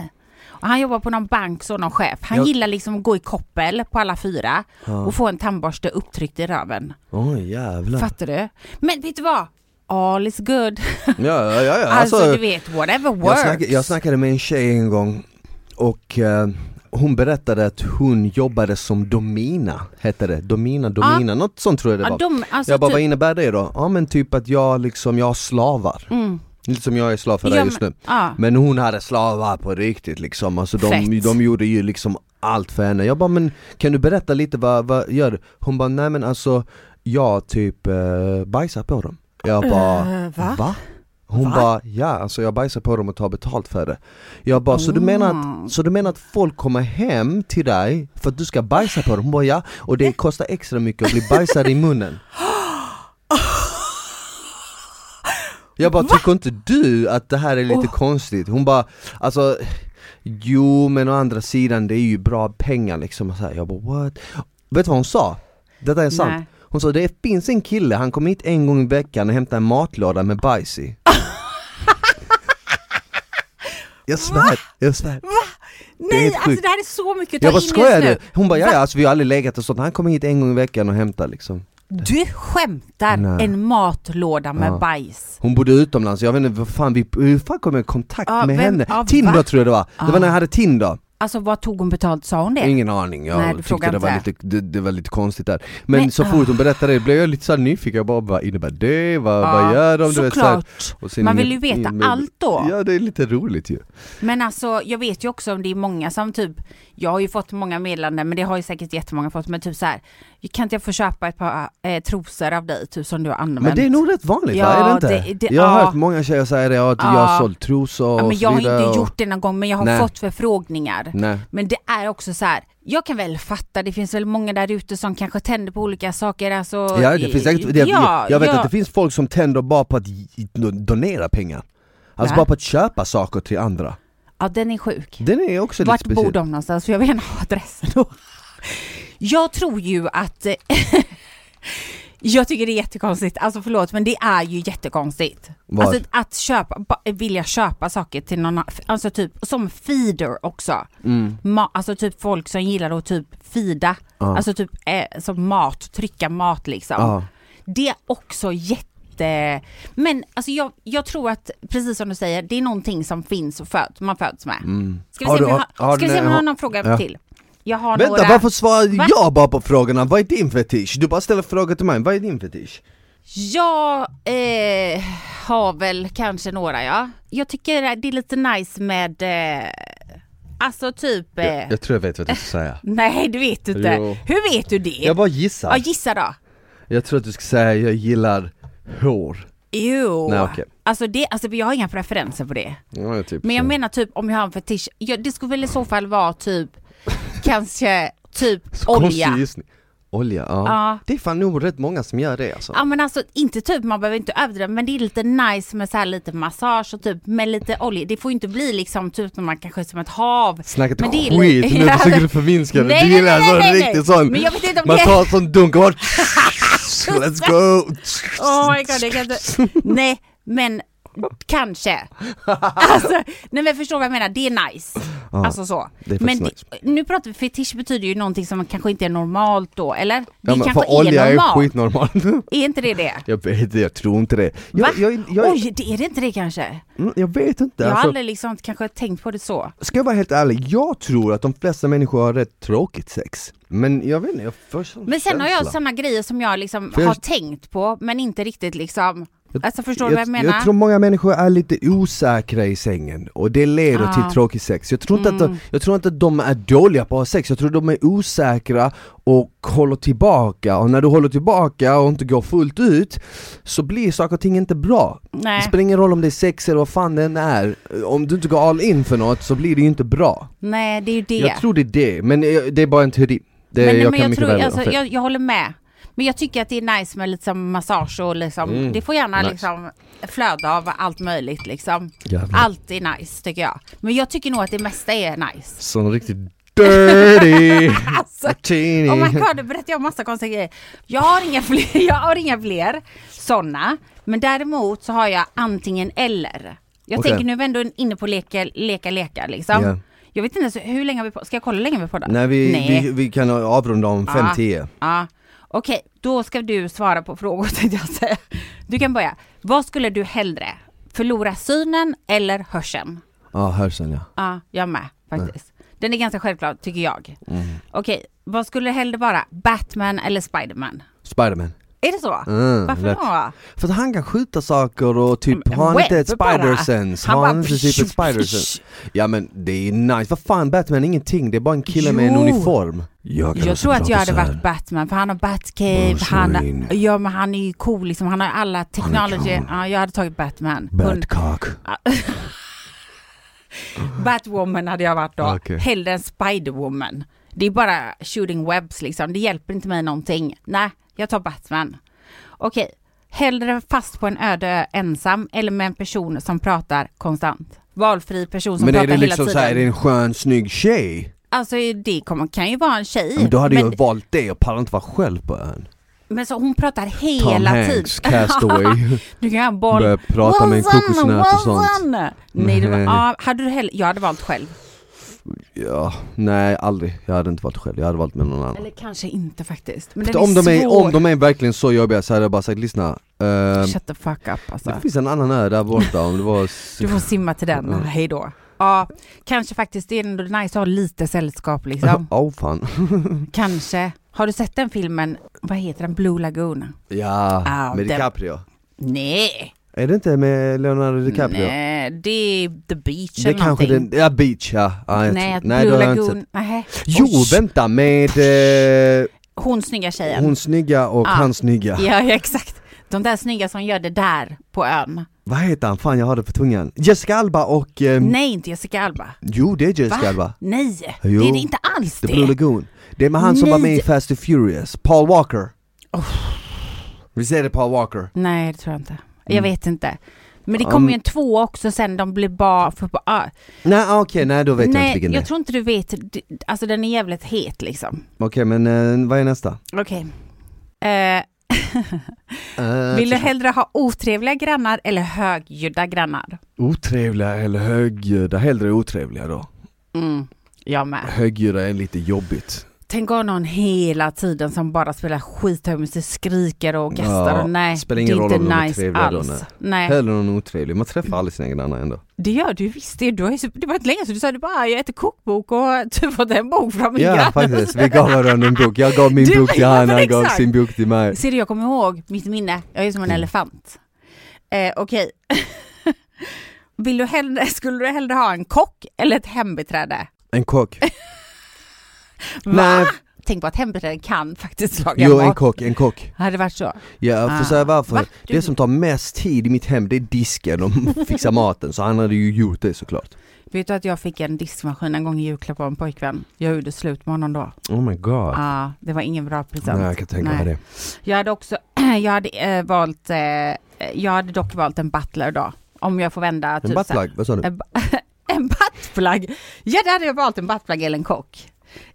Och han jobbar på någon bank som någon chef. Han
Jag-
gillar liksom att gå i koppel på alla fyra
Ja.
och få en tandborste upptryckt i röven.
Oj jävlar
Fattar du? Men vet du vad? All is good. [laughs]
Ja ja ja, ja.
Alltså,
alltså,
du vet, whatever
jag,
works.
snackade, jag snackade med en tjej en gång och eh, hon berättade att hon jobbade som domina, hette det, domina, domina, något sånt tror jag det var
ja, de, alltså,
Jag bara, vad
typ,
innebär det då? Ja men typ att jag liksom, jag har slavar,
mm,
lite som jag är slav för
Ja,
dig just nu
men- ja.
Men hon hade slavar på riktigt liksom, alltså de,
Fett.
de gjorde ju liksom allt för henne Jag bara men kan du berätta lite vad, vad gör du? Hon bara nej men alltså jag typ eh, bajsar på dem Jag bara
Eh, va?
Hon
Va?
bara ja alltså jag bajsar på dem och tar betalt för det Jag bara så du menar
Mm.
att, så du menar att folk kommer hem till dig för att du ska bajsa på dem? Hon bara ja och det kostar extra mycket att bli bajsad i munnen Jag bara, tycker inte du att det här är lite konstigt? Hon bara, alltså Jo men å andra sidan det är ju bra pengar liksom, Och så här, jag bara what? Vet du vad hon sa? Detta är sant,
Nej.
hon sa det finns en kille, han kommer hit en gång i veckan och hämtar en matlåda med
[laughs]
bajs i Jag svär, jag svär är
Nej,
helt
alltså
sjukt.
det här är så mycket att ta
Jag bara
in
skojar
just nu.
du? Hon bara ja, ja alltså, vi har aldrig legat och sånt, han kommer hit en gång i veckan och hämtar liksom
Du skämtar
Nej.
en matlåda med
Ja.
bajs.
Hon bodde utomlands, jag vet inte vad fan, vi, hur fan kom jag i kontakt
Ja,
med
vem-
henne?
ja,
Tinder
va? Ah.
tror jag det var, det var när jag hade Tinder
Alltså vad tog hon betalt? Sa hon det?
Ingen aning, jag
Nej, du
tyckte
frågar
det var,
inte.
lite, det, det var lite konstigt där Men,
Men- ah.
så fort hon berättade det blev jag lite så här nyfiken, jag bara vad innebär det? Vad, vad gör de? Du vet, så här.
Såklart.
Och sen
Man vill
ingen-
ju veta
ingen-
allt då.
Ja det är lite roligt ju
Men alltså jag vet ju också om det är många som typ, jag har ju fått många meddelanden men det har ju säkert jättemånga fått men typ så här, kan inte jag få köpa ett par eh, trosor av dig typ som du har använt?
Men det är nog rätt vanligt va?
Ja,
Är det inte?
det- det-
jag har
ja.
hört många tjejer säga det, ja, att jag
Ja.
har sålt trosor
ja,
och
men
så
jag har
vidare
inte
och-
gjort det någon gång men jag har
Nej.
fått förfrågningar. där.
Nej.
Men det är också så här, jag kan väl fatta, det finns väl många där ute som kanske tänder på olika saker. Alltså,
Ja, det finns säkert, det,
ja,
jag vet
ja.
att det finns folk som tänder bara på att gi- donera pengar. Alltså
Va?
bara på att köpa saker till andra.
Ja, den är sjuk.
Den är också
Vart
lite
bor
speciell.
de någonstans? För jag vill gärna ha adressen då. Jag tror ju att... [laughs] jag tycker det är jättekonstigt. Alltså förlåt, men det är ju jättekonstigt.
Vad?
Alltså att köpa, ba- vilja köpa saker till någon annan. Alltså typ som feeder också.
Mm.
Ma- alltså typ folk som gillar att typ feeda.
Ja.
Alltså typ eh, som mat, trycka mat liksom.
Ja.
Det är också jätte... Men alltså jag, jag tror att, precis som du säger, det är någonting som finns och föds, man föds med.
Mm.
Ska vi
Har
se om
du-
jag har,
har- har
ska vi
du-
se om jag
har-
har någon fråga
ja.
till? Jag har
Vänta,
några...
varför svarar
Va?
jag bara på frågorna? Vad är din fetisch? Du bara ställer frågor till mig, vad är din fetisch?
Jag eh, har väl kanske några ja. Jag tycker att det är lite nice med, eh, alltså typ... Eh,
Jag, jag tror jag vet vad du
[laughs]
ska säga.
Nej det vet du inte.
Jo.
Hur vet du det?
Jag bara
Ja
gissar.
gissa då.
Jag tror att du ska säga jag gillar hår.
Jo.
Nej, okej.
Alltså det, alltså jag har inga preferenser på det.
Ja, typ
Men jag
så.
menar typ om jag har en fetisch, ja, det skulle väl i så fall vara typ kanske typ
Så konstig
olja.
gissning. Olja, ja.
Ja.
Det är fan nog rätt många som gör det alltså.
Ja men alltså inte typ, man behöver inte överdriva men det är lite nice med så här lite massage och typ med lite olja. Det får ju inte bli liksom typ när man kanske är som ett hav.
Snackat
Men det är
skit,
lite- [laughs]
nu försöker du förminska det.
Nej,
Du
nej,
gillar en
nej,
sån
nej, nej.
riktig sån.
Men jag vet inte om
Man
det-
tar en sån dunk
[laughs]
och bara Let's go!
Oh my god, jag kan inte. Nej men kanske. Alltså, nej men förstår vad jag menar, det är nice.
Ja,
alltså så.
det är
men
faktiskt nice.
det- nu pratar vi, fetisch betyder ju någonting som kanske inte är normalt då, eller? Det
Ja, men
kanske
för olja
är
är
normalt.
skitnormalt.
Är inte det det?
[laughs] Jag vet inte, jag tror inte det.
Va?
Jag, jag, jag,
Oj, det är det inte det kanske?
mm, jag vet inte.
Jag har
Alltså,
aldrig liksom kanske tänkt på det så.
ska jag vara helt ärlig, jag tror att de flesta människor har rätt tråkigt sex. Men jag vet inte, jag får sån
Men sen har jag
känsla.
sådana grejer som jag liksom
För jag-
har tänkt på men inte riktigt liksom Alltså förstår du
jag,
vad jag menar?
Jag tror många människor är lite osäkra i sängen och det leder
Ah.
till tråkigt sex. Jag tror, inte att
Mm.
de, jag tror inte att de är dåliga på att ha sex, jag tror de är osäkra och håller tillbaka och när du håller tillbaka och inte går fullt ut så blir saker och ting inte bra. Det
Nej,
spelar ingen roll om det är sex eller vad fan det än är, om du inte går all in för något så blir det ju inte bra.
nej det är ju det.
Jag tror det är det, men eh, det är bara en teori. Det,
men
jag
men
kan
jag,
mycket
tror,
väl ha
alltså,
fel.
jag, jag håller med. Men jag tycker att det är nice med lite som massage och liksom,
Mm,
det får gärna
nice.
liksom flöda av allt möjligt liksom.
Jävlar.
Allt är nice tycker jag. Men jag tycker nog att det mesta är nice.
Sån riktigt dirty
[laughs] Alltså,
martini.
Oh my god, nu berättar jag massa konstiga grejer. Jag har inga fler, [laughs] jag har inga fler sådana. Men däremot så har jag antingen eller. Jag
Okej.
tänker nu är vi ändå inne på leka, leka, leka liksom.
Ja.
Jag vet inte ens hur länge har vi på, ska jag kolla hur länge vi har poddat?
Nej, vi,
Nej. Ah.
Vi, vi kan avrunda om 5-10
Ja. Okej, då ska du svara på frågor [laughs] tänkte jag säga. Du kan börja. Vad skulle du hellre? Förlora synen eller hörseln?
Ja, hörseln ja
Ja, jag med faktiskt. Den är ganska självklar tycker jag.
Mm.
Okej, vad skulle du hellre vara? Batman eller Spiderman?
Spiderman
Är det så?
Mm,
Varför
lätt.
då?
För att han kan skjuta saker och typ,
Men
har han inte ett
webb bara.
spider-sense?
Han
Har
bara-
han inte typ ett spider-sense? Ja men det är nice, vad fan Batman är ingenting, det är bara en kille med en
Jo.
uniform kan
Jag
också
tror att
prata
jag hade
så här.
varit Batman för han har Batcave,
Bruce
han,
Wayne.
ja, men han är ju cool liksom, han har alla technology.
cool.
Ja, jag hade tagit Batman. Hund-
Batcock
Batwoman hade jag varit då.
Okej.
Hellre än Spiderwoman. Det är bara shooting webs liksom, det hjälper inte mig någonting. Nej, jag tar Batman. Okej, hellre fast på en öde ö ensam eller med en person som pratar konstant. Valfri person som
Men är
pratar
det
hela
liksom
tiden.
såhär, är det en skön snygg tjej?
Alltså det kommer, kan ju vara en tjej.
Ja, Men då hade jag valt det, jag pallar inte vara själv på ön
Men så hon pratar
Tom
hela tiden. [laughs]
Hanks, Castaway,
Du kan göra en boll.
börja prata med en
Wilson,
kokosnöt och sånt
Wilson! Nej, det var,
Nej.
ja, hade du hellre, jag hade valt själv.
Ja, nej aldrig, jag hade inte valt själv, jag hade valt med någon annan
Eller kanske inte faktiskt. Men den
om,
är
de är,
svår.
om de är verkligen så jobbiga så hade jag bara sagt lyssna, ehm,
Shut the fuck up alltså.
det finns en annan ö där borta om det var
[laughs]
[laughs]
Du får liksom- simma till den,
Ja.
hej då. Ja, kanske faktiskt, det är ändå nice att ha lite sällskap liksom.
Åh fan
kanske. Har du sett den filmen, vad heter den, Blue Lagoon?
Ja,
Ah,
med
den-
DiCaprio
Nej,
Är det inte med Leonardo DiCaprio?
nej, det är The Beach
Det
eller
kanske
någonting.
den, ja beach ja, ja jag
Nej,
tror-
att Blue
då har jag inte sett.
Lagoon, nej.
Jo
Oj,
vänta, med eh,
Hon snygga tjejen.
hon snygga och
Ja. [laughs]
han snygga
Ja, ja exakt. De där snygga som gör det där på ön.
vad heter han, fan jag har det på tungan. Jessica Alba och, ehm,
Nej, inte Jessica Alba.
jo det är Jessica
Va?
Alba.
Nej,
Jo.
det är det inte alls
The Blue
det.
Lagoon. Det är med han som var med i
Nej.
Fast and Furious, Paul Walker.
Oh.
Visst är det Paul Walker?
Nej, det tror jag inte. Jag
Mm.
vet inte. Men det
Ja,
kommer
men-
ju en två också sen de blir bara för på... Ah.
Nej ah, okej, nej då vet jag inte
Nej,
vilken det är.
jag tror inte du vet. D- Alltså den är jävligt het liksom.
Okej men eh, vad är nästa?
Okej. Eh, [laughs]
Eh,
vill du hellre ha otrevliga grannar eller högljudda grannar?
Otrevliga eller högljudda? Hellre otrevliga då.
Mm, jag med.
Högljudda är lite jobbigt.
Tänk om någon hela tiden som bara spelar skithög musik, skriker och gastar.
Ja,
och nej,
spelar ingen
det är
roll
inte
om de är
nice
trevliga då,
alls.
nej.
nej.
Hellre någon otrevlig, man träffar aldrig sina grannar ändå.
Det gör du visst. Det, du har ju, så- det var inte länge sedan du sa det bara, jag äter kokbok och [laughs] typ fått en bok från min
Ja
granne.
faktiskt, vi gav varandra en bok, jag gav min
Du-
bok till
ja,
han,
men
han gav
exakt.
sin bok till mig.
Ser du, jag kommer ihåg mitt minne. Jag är som en
Mm.
elefant. Eh, Okej. [laughs] Vill du hellre, skulle du hellre ha en kock eller ett hembiträde?
En kock.
Va?
Nej,
Tänk på att hembiträden kan faktiskt laga
jo en
mat.
kock, en kock.
Hade det varit så?
Jag får
Ah.
säga varför.
Va? Du-
Det som tar mest tid i mitt hem det är disken och [laughs] fixa maten, så han hade ju gjort det såklart.
Vet du att jag fick en diskmaskin en gång i julklapp av en pojkvän? Jag gjorde slut med honom då.
Oh my god.
Ah, det var ingen bra present.
Nej jag kan tänka
Nej.
mig det.
Jag hade också, [clears throat] jag hade eh, valt, eh, jag hade dock valt en butler då. Om jag får vända
En
så här-
buttplug, vad sa du?
En, ba- [laughs] en buttplug? Ja, det hade jag valt en buttplug eller en kock.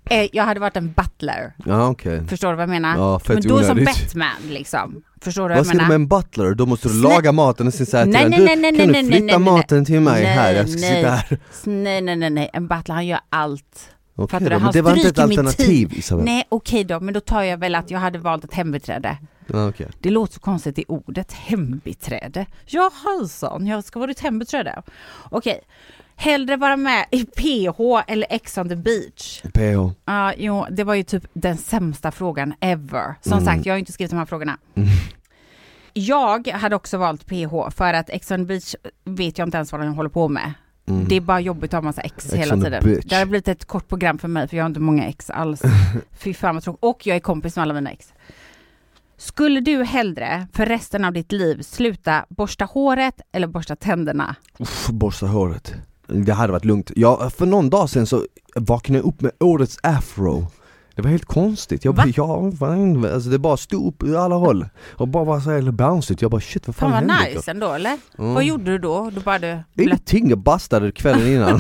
Eh, jag hade varit en butler.
Ja okej.
Förstår du vad jag menar?
Ja, fett
ah. Men då som
onödigt.
Batman liksom. Förstår du vad
Vad
jag
ska du med
menar?
en butler? Då måste du
Snä-
laga maten och sen säga till
Nej,
den,
nej,
du,
nej, nej,
kan
nej,
du
nej,
flytta
nej, nej.
maten till mig
Nej,
här, jag ska
nej.
sitta här.
Nej, nej, nej, nej. En butler han gör allt.
Okej
Fattar du?
då, men
Han
det var inte ett
stryker min
alternativ Isabel.
Nej, okej då. Men då tar jag väl att jag hade valt ett hembiträde.
Ja, okej.
Det låter så konstigt i ordet hembiträde. Ja hejsan, jag ska vara ditt hembiträde. Okej, hellre vara med i PH eller Ex on the beach?
PH.
Ja, jo, det var ju typ den sämsta frågan ever. Som
Mm.
sagt, jag har ju inte skrivit de här frågorna. Jag hade också valt PH för att Ex on the beach vet jag inte ens vad de håller på med.
Mm.
Det är bara jobbigt att ha massa ex,
Ex
hela
on the
tiden.
beach.
Det har blivit ett kort program för mig för jag har inte många ex
[laughs]
alls. Fy fan vad tråkigt. Och jag är kompis med alla mina ex. Skulle du hellre för resten av ditt liv sluta borsta håret eller borsta tänderna?
Uff, borsta håret. Det hade varit lugnt. Jag, för någon dag sedan så vaknade jag upp med årets afro. Det var helt konstigt. Jag,
Va?
jag, fan, alltså det bara stod upp ur alla håll. Och bara var så här bouncigt. Jag bara shit vad fan
Fan
hände?
vad
då?
nice ändå eller?
Mm.
Vad gjorde du då? Då bara du blött.
Ingenting, jag bastade
[laughs]
kvällen innan.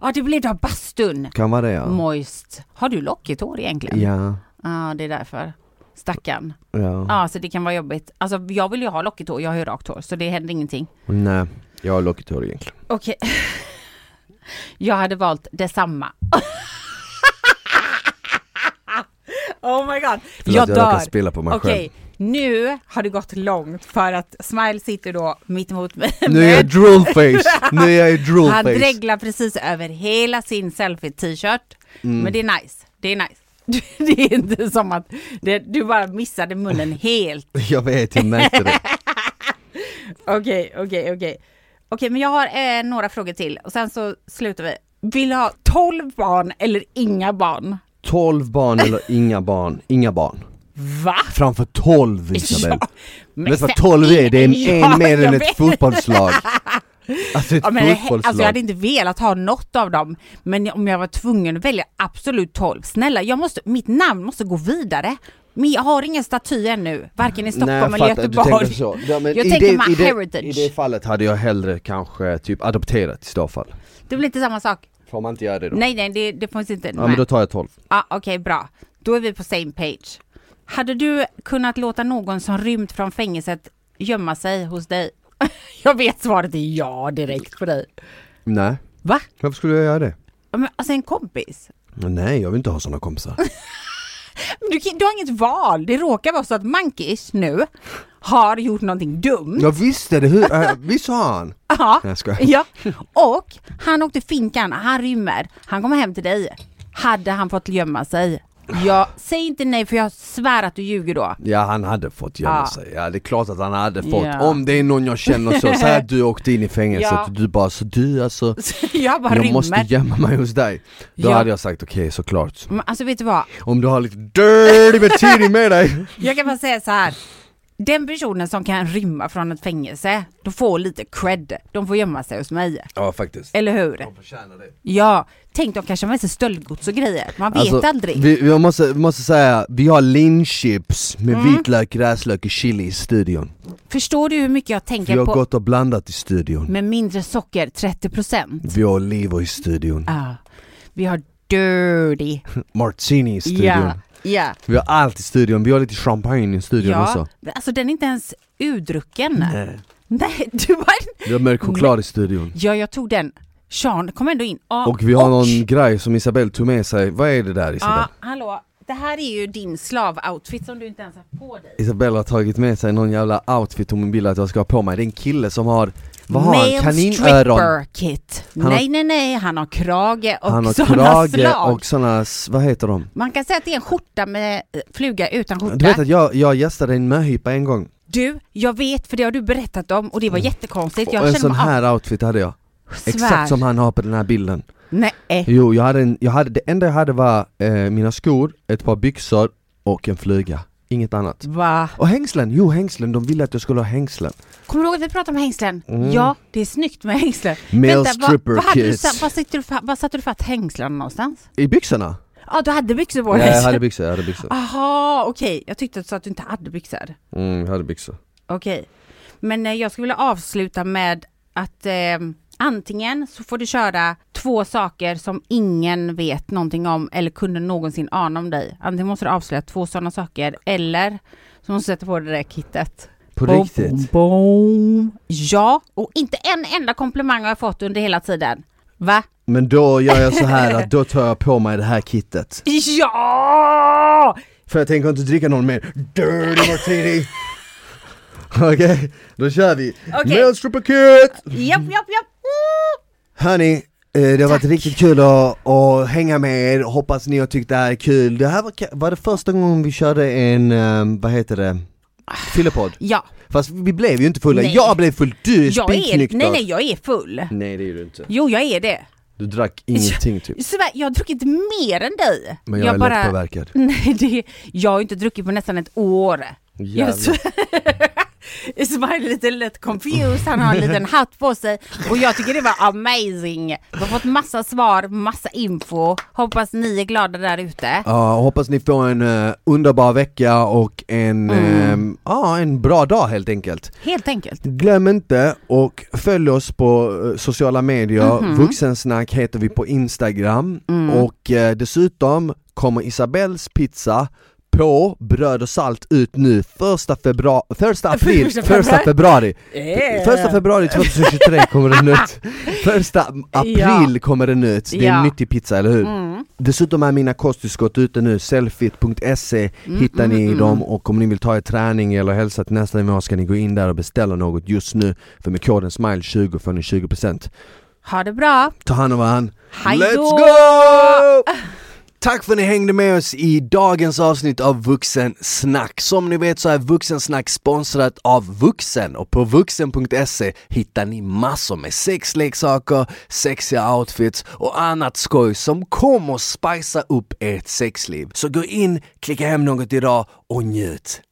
Ja det blev då bastun.
kan vara det ja.
Moist. Har du lockigt hår egentligen? Ja
Ja,
det är därför. Stackarn.
ja.
Ja så det kan vara jobbigt. Alltså jag vill ju ha lockigt hår, jag har ju rakt hår så det händer ingenting.
Nej, jag har lockigt hår egentligen.
Okej. [laughs] Jag hade valt detsamma. [laughs] oh my god.
Förlåt,
jag
jag råkar
dör.
spela på mig
Okej,
själv.
nu har det gått långt för att Smile sitter då mitt emot mig.
Nu är jag
[laughs]
droolface! Nu är jag
Han
droolface!
dreglar precis över hela sin selfie-t-shirt.
Mm.
Men det är nice. Det är nice. [laughs] Det är inte som att det, du bara missade munnen helt.
Jag vet, jag märkte
[laughs]
det.
Okej, okej, okej. Okej, men jag har eh, några frågor till och sen så slutar vi. Vill du ha 12 barn eller inga barn?
12 barn eller inga barn? Inga barn.
Va?
Framför 12 Isabel!
men
Vet du vad
sen-
12 är? Det är en,
Ja,
en mer
jag
än ett
vet. [laughs]
fotbollslag. Alltså ett
Ja, men, he-
fotbollslag.
alltså jag hade inte velat ha något av dem, men om jag var tvungen att välja absolut 12. Snälla, jag måste, mitt namn måste gå vidare. Men jag har ingen staty ännu, varken i Stockholm
jag
eller
fattar,
Göteborg.
Du tänker så. Ja, men
Jag
i
tänker
det-
my
i det-
heritage.
I det fallet hade jag hellre kanske typ adopterat i så fall.
Det blir inte samma sak.
Får man inte göra det då?
Nej, nej, det, det finns inte.
Ja men då tar jag 12.
Ja, Ah, Okej, bra. Då är vi på same page. Hade du kunnat låta någon som rymt från fängelset gömma sig hos dig? [laughs] jag vet svaret är ja direkt på dig.
Nej,
Va?
varför skulle jag göra det?
Ja, Men, alltså en kompis?
Nej, jag vill inte ha
[laughs]
sådana kompisar.
Men du, kan- du har inget val. Det råkar vara så att Mankish nu har gjort någonting dumt.
Jag visste det, hur, äh, visst sa han?
Ja.
Nej, jag skojar.
[laughs] ja. Och han åkte finkan, han rymmer, han kommer hem till dig. Hade han fått gömma sig? Jag säg inte nej för jag svär att du ljuger då. [laughs]
Ja han hade fått gömma
Ja.
sig, ja det är klart att han hade fått.
Ja.
Om det är någon jag känner så,
[laughs]
säg att du åkte in i fängelset
Ja.
och du bara så du alltså,
Så jag bara
jag
rymmer.
måste gömma mig hos dig. Då
Ja.
hade jag sagt okej såklart.
Men Alltså vet du vad? [laughs]
Om du har lite dirty med tidning med dig.
Jag kan bara säga så här. Den personen som kan rymma från ett fängelse, de får lite cred. De får gömma sig hos mig.
Ja faktiskt.
Eller hur?
förtjänar det.
Ja, tänk de kanske har med sig stöldgods och grejer. Man vet
Alltså,
aldrig.
Vi, vi måste, vi måste säga, vi har linchips med
Mm.
vitlök, gräslök och chili i studion.
Förstår du hur mycket jag tänker
Vi har
på
gått och blandat i studion.
med mindre socker, 30%?
Vi har oliver i studion.
Ja. Vi har dirty.
Martini i [laughs] studion.
Ja, ja.
Vi har allt i studion, vi har lite champagne i studion också.
ja. Alltså den är inte ens urdrucken. [laughs] Nej,
Nej.
du var...
Vi har mörk choklad i studion.
Ja, jag tog den. Sean kom ändå in. Ja,
Och vi har någon grej som Isabelle tog med sig, vad är det där Isabelle?
Ja, hallå. Det här är ju din slavoutfit som du inte ens har på dig.
Isabella har tagit med sig någon jävla outfit hon vill att jag ska ha på mig, det är en kille som har, vad har
Male
han? Kaninöron?
stripper kit.
har-
Nej, nej, nej. Han har krage och
Han har
sådana
krage
slag.
och såna, s- vad heter de?
Man kan säga att det är en skjorta med eh, fluga utan skjorta.
Du vet att jag, jag gästade en möhippa en gång,
Du, jag vet för det har du berättat om och det var jättekonstigt.
Mm. och
Jag
en
känner
sån
mig
här outfit hade jag,
av, svär.
exakt som han har på den här bilden
Nej, eh,
Jo, jag hade en, jag hade, det enda jag hade var eh, mina skor, ett par byxor och en flyga, inget annat
va?
Och hängslen, jo hängslen, de ville att jag skulle ha hängslen
Kommer du ihåg att vi pratade om hängslen?
Mm.
Ja, det är snyggt med hängslen.
Male
vad-
stripper
vad, hade du,
kids.
sa- vad, satte du, fa- vad satte du fast hängslen någonstans?
I byxorna?
Ja, du hade byxor på
Ja,
dig.
jag hade byxor, jag hade byxor
Aha, okej. Jag tyckte att du sa att du inte hade byxor.
mm, jag hade byxor
Okej. Men eh, jag skulle vilja avsluta med att eh, antingen så får du köra två saker som ingen vet någonting om eller kunde någonsin ana om dig. Antingen måste du avslöja två sådana saker eller så måste du sätta på dig det där kittet.
På
Boom,
riktigt?
boom, boom. Ja, och inte en enda komplimang har jag fått under hela tiden. Va?
Men då gör jag så här
[laughs]
att då tar jag på mig det här kittet
Ja!
För jag tänker inte dricka någon mer dirty martini [laughs] Okej, då kör vi!
Okej.
Male stripper kit!
Japp, japp, japp! Oh!
Hörni, eh, det har varit
Tack.
riktigt kul att, att hänga med er, hoppas ni har tyckt det här är kul. Det här var, ka- var det första gången vi körde en, eh, vad heter det, fyllepodd?
Ja,
Fast vi blev ju inte fulla,
Nej.
jag blev full, du är
jag är, nej,
spiknykter!
nej, jag är full.
nej det är du inte.
Jo, jag är det.
Du drack ingenting typ,
Svär, jag har druckit mer än dig.
men jag, är lättpåverkad.
[laughs] Nej, det, jag har ju inte druckit på nästan ett år. Jag
Jävlar.
svär- [laughs] Smiley är lite lätt confused, han har en
[laughs]
liten hatt på sig och jag tycker det var amazing. Vi har fått massa svar, massa info. Hoppas ni är glada där ute.
Ja, hoppas ni får en eh, underbar vecka och en, ehm, ja, en bra dag helt enkelt.
Helt enkelt.
Glöm inte och följ oss på eh, sociala medier, Vuxensnack heter vi på Instagram och eh, dessutom kommer Isabells pizza på bröd och salt ut nu första februari, första april,
Första
första
februari.
februari, första februari 2023 kommer den ut, första april kommer den ut, det är
Ja.
en nyttig pizza eller hur?
Mm.
Dessutom är mina kosttillskott ute nu, selfit.se
Mm,
hittar ni dem och om ni vill ta er träning eller hälsa till nästa nivå ska ni gå in där och beställa något just nu för med koden SMILE20 får ni 20%
Ha det bra.
Ta hand om varandra,
Hej
let's
då!
go! Tack för att ni hängde med oss i dagens avsnitt av Vuxensnack. Som ni vet så är Vuxensnack sponsrat av Vuxen och på vuxen.se hittar ni massor med sexleksaker, sexiga outfits och annat skoj som kommer att spicea upp ert sexliv. Så gå in, klicka hem något idag och njut!